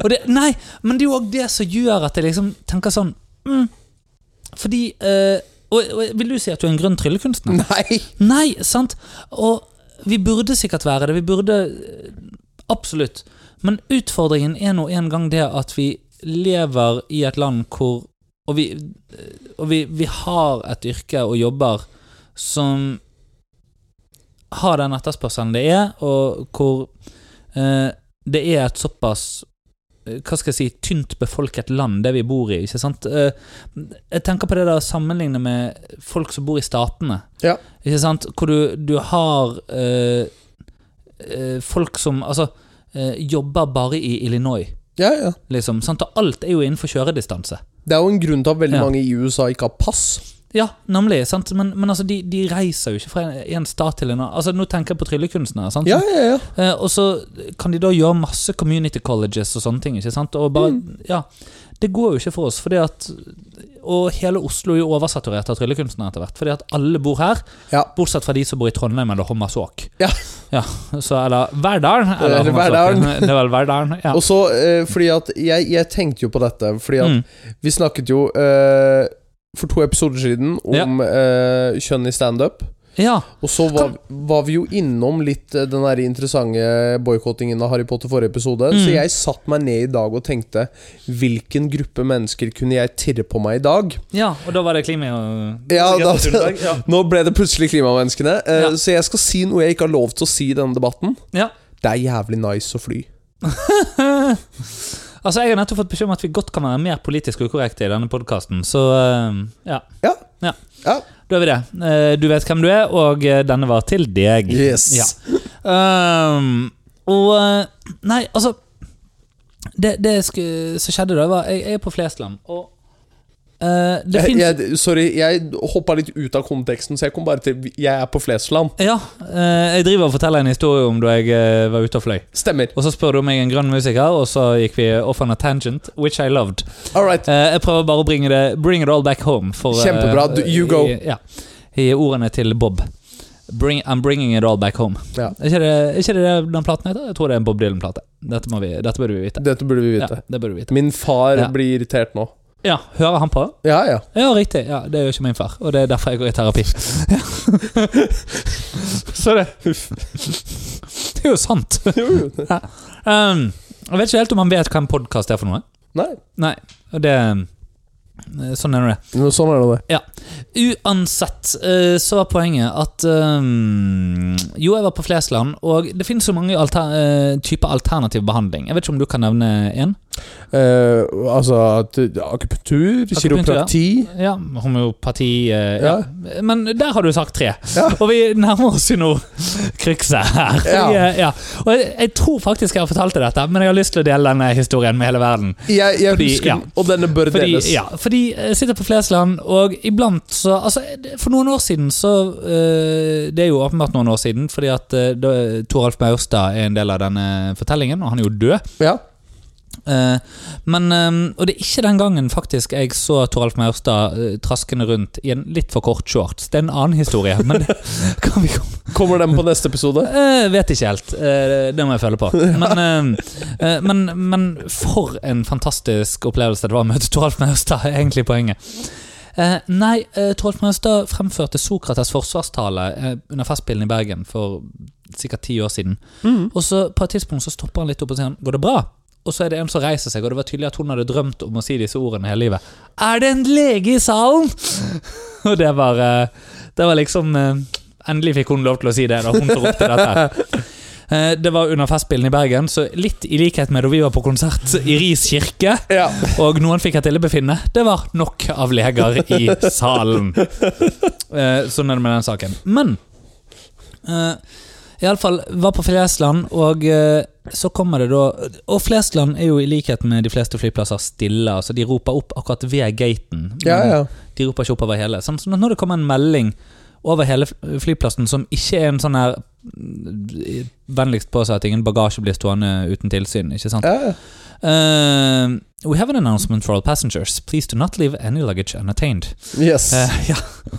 [SPEAKER 2] Og det, nei, men det er jo òg det som gjør at jeg liksom tenker sånn mm, Fordi eh, og, og Vil du si at du er en grønn tryllekunstner?
[SPEAKER 1] Nei!
[SPEAKER 2] Nei, sant? Og vi burde sikkert være det. Vi burde eh, Absolutt. Men utfordringen er nå en gang det at vi lever i et land hvor Og vi, eh, og vi, vi har et yrke og jobber som har den etterspørselen det er, og hvor eh, det er et såpass eh, hva skal jeg si, tynt befolket land, det vi bor i. ikke sant? Eh, Jeg tenker på det der å sammenligne med folk som bor i statene.
[SPEAKER 1] Ja.
[SPEAKER 2] Ikke sant? Hvor du, du har eh, eh, folk som altså, eh, jobber bare i Illinois.
[SPEAKER 1] Ja, ja.
[SPEAKER 2] Liksom, sant? Og alt er jo innenfor kjøredistanse.
[SPEAKER 1] Det er jo en grunn til at veldig
[SPEAKER 2] Ja.
[SPEAKER 1] mange i USA ikke har pass.
[SPEAKER 2] Ja, nemlig. sant? Men, men altså, de, de reiser jo ikke fra en- en stat til en annen. Altså, Nå tenker jeg på tryllekunstnere. sant?
[SPEAKER 1] Ja, ja, ja.
[SPEAKER 2] Eh, og så kan de da gjøre masse community colleges og sånne ting. ikke sant? Og bare,
[SPEAKER 1] Mm.
[SPEAKER 2] ja, Det går jo ikke for oss. fordi at, Og hele Oslo er jo oversaturert av tryllekunstnere etter hvert. fordi at alle bor her,
[SPEAKER 1] Ja.
[SPEAKER 2] bortsett fra de som bor i Trondheim eller Hommersåk.
[SPEAKER 1] Ja.
[SPEAKER 2] Ja, så eller Verdalen. Eller
[SPEAKER 1] Eller
[SPEAKER 2] Hommersåk.
[SPEAKER 1] Verdalen.
[SPEAKER 2] Det er vel Verdalen, ja.
[SPEAKER 1] Og så, eh, fordi at jeg, jeg tenkte jo på dette, fordi at
[SPEAKER 2] Mm.
[SPEAKER 1] vi snakket jo eh, for to episoder siden om eh, kjønn i standup.
[SPEAKER 2] ja.
[SPEAKER 1] Og så var, var vi jo innom litt eh, den der interessante boikottingen av Harry Potter forrige episode. Så
[SPEAKER 2] Mm.
[SPEAKER 1] jeg satt meg ned i dag og tenkte Hvilken gruppe mennesker kunne jeg tirre på meg i dag?
[SPEAKER 2] ja, og da var det klima og
[SPEAKER 1] Ja, da-
[SPEAKER 2] ja.
[SPEAKER 1] Nå ble det plutselig klimamenneskene. eh,
[SPEAKER 2] Ja.
[SPEAKER 1] Så jeg skal si noe jeg ikke har lov til å si i denne debatten.
[SPEAKER 2] Ja.
[SPEAKER 1] Det er jævlig nice å fly.
[SPEAKER 2] Altså, Jeg har nettopp fått beskjed om at vi godt kan være mer politisk ukorrekte i denne podkasten, så eh, ja.
[SPEAKER 1] Ja.
[SPEAKER 2] Ja.
[SPEAKER 1] Ja.
[SPEAKER 2] Da er vi det. Eh, Du vet hvem du er, og eh, denne var til deg.
[SPEAKER 1] Yes.
[SPEAKER 2] Ja. Ehm, og eh, Nei, altså Det, det sku, som skjedde da, var Jeg, jeg er på Flesland, og eh, det
[SPEAKER 1] Jeg,
[SPEAKER 2] fins
[SPEAKER 1] jeg, sorry, jeg hoppa litt ut av konteksten, så jeg kom bare til Jeg er på Flesland.
[SPEAKER 2] Ja, eh, jeg driver og forteller en historie om da jeg eh, var ute og fløy.
[SPEAKER 1] Stemmer.
[SPEAKER 2] Og så spør du om jeg er en grønn musiker, og så gikk vi off on a tangent, which I loved.
[SPEAKER 1] All right.
[SPEAKER 2] Eh, jeg prøver bare å bringe det Bring it all back home. For, eh,
[SPEAKER 1] Kjempebra. Du- you go.
[SPEAKER 2] I, ja, I ordene til Bob. Bring, I'm bringing it all back home.
[SPEAKER 1] Ja.
[SPEAKER 2] Er ikke det, er ikke det det den platen heter? Jeg tror det er en Bob Dylan-plate. Dette, må vi, dette burde vi vite.
[SPEAKER 1] Dette burde vi
[SPEAKER 2] Ja,
[SPEAKER 1] vite.
[SPEAKER 2] det burde vi vite.
[SPEAKER 1] Min far
[SPEAKER 2] Ja.
[SPEAKER 1] blir irritert nå.
[SPEAKER 2] Ja, hører han på?
[SPEAKER 1] Ja, ja.
[SPEAKER 2] Ja, riktig. Ja, det gjør ikke min far, og det er derfor jeg går i terapi. Så det Det er jo sant. Um, jeg vet ikke helt om han vet hva en podkast er for noe.
[SPEAKER 1] Nei.
[SPEAKER 2] Nei, og det Sånn er nå det.
[SPEAKER 1] Men sånn er det.
[SPEAKER 2] Uansett eh, så var poenget at ehm, Jo, jeg var på Flesland, og det finnes så mange alter, eh, typer alternativ behandling. Jeg vet ikke om du kan nevne én?
[SPEAKER 1] Eh, altså at, akupunktur, kiroprakti
[SPEAKER 2] Ja, homeopati eh, ja. Men der har du sagt tre.
[SPEAKER 1] Ja.
[SPEAKER 2] Og vi nærmer oss jo nå krykset her.
[SPEAKER 1] Ja.
[SPEAKER 2] Vi, eh, ja. Og jeg, jeg tror faktisk jeg har fortalt deg dette, men jeg har lyst til å dele denne historien med hele verden.
[SPEAKER 1] Jeg, jeg
[SPEAKER 2] Fordi-
[SPEAKER 1] husker
[SPEAKER 2] ja.
[SPEAKER 1] den, og denne bør
[SPEAKER 2] Fordi,
[SPEAKER 1] deles.
[SPEAKER 2] ja, fordi eh, jeg sitter på Flesland, og iblant så altså, For noen år siden så eh, Det er jo åpenbart noen år siden, fordi at eh, da, Toralf Maurstad er en del av denne fortellingen, og han er jo død.
[SPEAKER 1] Ja.
[SPEAKER 2] Eh, men, eh, og det er ikke den gangen faktisk jeg så Toralf Maurstad eh, traskende rundt i en litt for kort shorts. Det er en annen historie, men det kan vi komme
[SPEAKER 1] Kommer den på neste episode?
[SPEAKER 2] Eh, vet ikke helt. Eh, det må jeg føle på. Men, eh, eh, men, men for en fantastisk opplevelse det var å møte Toralf Maurstad, er egentlig poenget. Eh, nei, uh, Toralf Maurstad fremførte Sokrates' forsvarstale eh, under Festspillene i Bergen for sikkert ti år siden. Og så på et tidspunkt så stopper han litt opp og sier han, 'Går det bra?' Og så er det en som reiser seg, og det var tydelig at hun hadde drømt om å si disse ordene hele livet. 'Er det en lege i salen?' og det var, eh, det var liksom eh, Endelig fikk hun lov til å si det da hun ropte dette. Eh, Det var under Festspillene i Bergen, så litt i likhet med da vi var på konsert i Ris kirke,
[SPEAKER 1] Ja.
[SPEAKER 2] og noen fikk et illebefinne, det var nok av leger i salen. Eh, Sånn er det med den saken. Men eh, i alle fall, var på Flesland, og eh, så kommer det da Og Flesland er jo i likhet med de fleste flyplasser stille, altså de roper opp akkurat ved gaten.
[SPEAKER 1] Ja, ja.
[SPEAKER 2] De roper ikke opp over hele. Sånn, sånn at når det kommer en melding over hele fl- flyplassen som ikke er en sånn her mm, Vennligst på seg at ingen bagasje blir stående uten tilsyn, ikke sant?
[SPEAKER 1] ja, ja.
[SPEAKER 2] Eh, we have an announcement for all passengers. Please do not leave any luggage unattained.
[SPEAKER 1] Yes.
[SPEAKER 2] Eh, ja.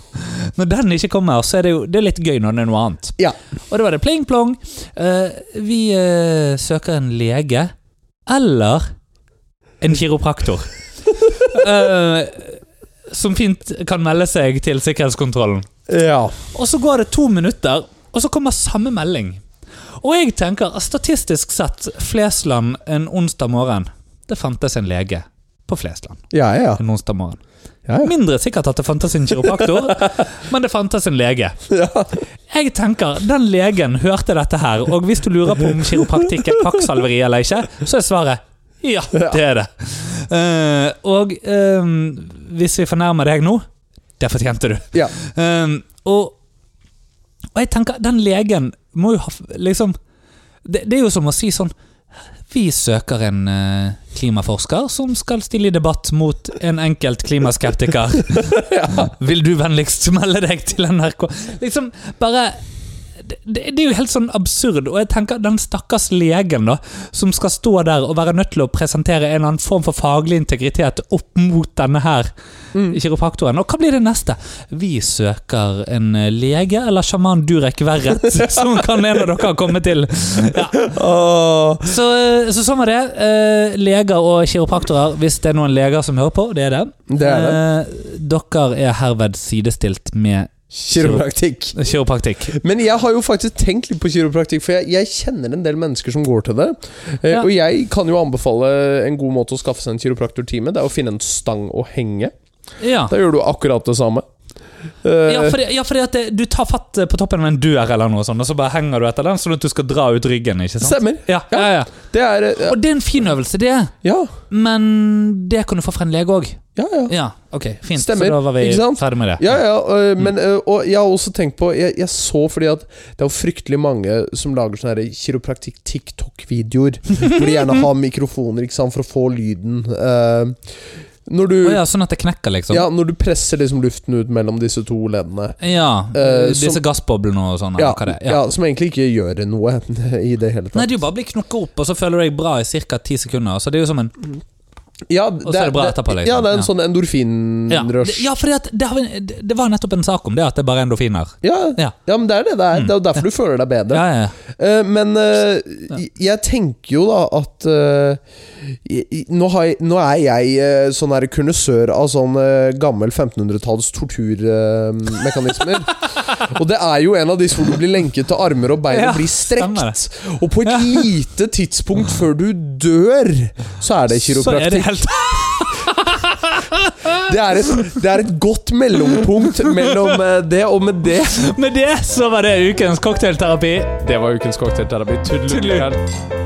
[SPEAKER 2] Når den ikke kommer, så er det jo det er litt gøy når det er noe annet.
[SPEAKER 1] Ja.
[SPEAKER 2] Og da var det pling plong. Eh, vi eh, søker en lege eller en kiropraktor. Eh, som fint kan melde seg til sikkerhetskontrollen.
[SPEAKER 1] ja.
[SPEAKER 2] Og så går det to minutter, og så kommer samme melding. Og jeg tenker statistisk sett Flesland en onsdag morgen. Det fantes en lege på Flesland
[SPEAKER 1] Ja, ja.
[SPEAKER 2] en onsdag morgen.
[SPEAKER 1] Ja, ja.
[SPEAKER 2] Mindre sikkert at det fantes en kiropraktor, men det fantes en lege. Jeg tenker, Den legen hørte dette her, og hvis du lurer på om kiropraktikk er kvakksalveri eller ikke, så er svaret Ja, det er det. Eh, og eh, hvis vi fornærmer deg nå, det fortjente du.
[SPEAKER 1] Ja.
[SPEAKER 2] Eh, og, og jeg tenker, den legen må jo ha f- liksom det, det er jo som å si sånn Vi søker en eh, klimaforsker som skal stille i debatt mot en enkelt klimaskeptiker. Vil du vennligst melde deg til NRK? Liksom, bare det, det det er jo helt sånn absurd, og jeg tenker den stakkars legen da, som skal stå der og være nødt til å presentere en eller annen form for faglig integritet opp mot denne her
[SPEAKER 1] Mm.
[SPEAKER 2] kiropraktoren. Og hva blir det neste? Vi søker en eh, lege eller sjaman Durek Verret, som kan en av dere komme til. Ja. Så, eh, så sånn var det. Eh, Leger og kiropraktorer, hvis det er noen leger som hører på, det er det.
[SPEAKER 1] Det er det.
[SPEAKER 2] Eh, Dere er herved sidestilt med
[SPEAKER 1] Kiropraktikk.
[SPEAKER 2] kiropraktikk.
[SPEAKER 1] Men jeg har jo faktisk tenkt litt på kiropraktikk, for jeg, jeg kjenner en del mennesker som går til det. Eh,
[SPEAKER 2] Ja.
[SPEAKER 1] Og jeg kan jo anbefale en god måte å skaffe seg en kiropraktortime. Det er å finne en stang å henge.
[SPEAKER 2] Ja.
[SPEAKER 1] Da gjør du akkurat det samme. Eh,
[SPEAKER 2] Ja, fordi, ja, fordi at det, du tar fatt på toppen av en dør eller noe sånt, og så bare henger du etter den, sånn at du skal dra ut ryggen. ikke sant?
[SPEAKER 1] Stemmer.
[SPEAKER 2] Ja, ja, ja.
[SPEAKER 1] Det er eh,
[SPEAKER 2] Og det er en fin øvelse, det.
[SPEAKER 1] Ja,
[SPEAKER 2] Men det kan du få fra en lege òg.
[SPEAKER 1] ja, ja.
[SPEAKER 2] Ja, ok, fint.
[SPEAKER 1] Stemmer,
[SPEAKER 2] Så da var vi
[SPEAKER 1] ikke sant?
[SPEAKER 2] ferdig med det.
[SPEAKER 1] Ja, ja, øh, men,
[SPEAKER 2] Mm.
[SPEAKER 1] øh, og jeg har også tenkt på jeg, jeg så fordi at det er jo fryktelig mange som lager sånne her kiropraktikk-tiktok-videoer. Hvor de gjerne har mikrofoner ikke sant, for å få lyden. øh, når, du,
[SPEAKER 2] Å
[SPEAKER 1] ja.
[SPEAKER 2] ja, sånn at det knekker, liksom.
[SPEAKER 1] når du presser liksom luften ut mellom disse to leddene.
[SPEAKER 2] Ja,
[SPEAKER 1] Eh,
[SPEAKER 2] Disse
[SPEAKER 1] som-
[SPEAKER 2] gassboblene og sånn.
[SPEAKER 1] Ja,
[SPEAKER 2] eller hva det er.
[SPEAKER 1] ja, Som egentlig ikke gjør noe i det hele
[SPEAKER 2] Nei,
[SPEAKER 1] tatt.
[SPEAKER 2] Du bare blir knokket opp, og så føler du deg bra i ca. ti sekunder. Så det er jo som en
[SPEAKER 1] Ja,
[SPEAKER 2] så er det bra etterpå, liksom.
[SPEAKER 1] Ja, det er en
[SPEAKER 2] Ja.
[SPEAKER 1] sånn
[SPEAKER 2] Ja,
[SPEAKER 1] endorfinrush.
[SPEAKER 2] det, ja fordi at det, har vi, det det var nettopp en sak om det, at det er bare er endorfiner.
[SPEAKER 1] Ja,
[SPEAKER 2] Ja. Mm.
[SPEAKER 1] ja, men det er det det er. Det er jo derfor du føler deg bedre.
[SPEAKER 2] Ja, ja,
[SPEAKER 1] Eh, men eh, j- jeg tenker jo da at eh, i- i- nå, har jeg, nå er jeg eh, sånn her kurnissør av sånn eh, gammel 1500-talls torturmekanismer. og det er jo en av disse hvor du blir lenket til armer og bein
[SPEAKER 2] Ja,
[SPEAKER 1] og blir
[SPEAKER 2] stemmer
[SPEAKER 1] strekt. Og på et lite tidspunkt før du dør, så er det
[SPEAKER 2] Så er det
[SPEAKER 1] kiropraktikk.
[SPEAKER 2] helt
[SPEAKER 1] Det er, et, det er et godt mellompunkt mellom eh, det og med det.
[SPEAKER 2] Med det så var det ukens cocktailterapi.
[SPEAKER 3] Det var ukens cocktailterapi. Tudelutt.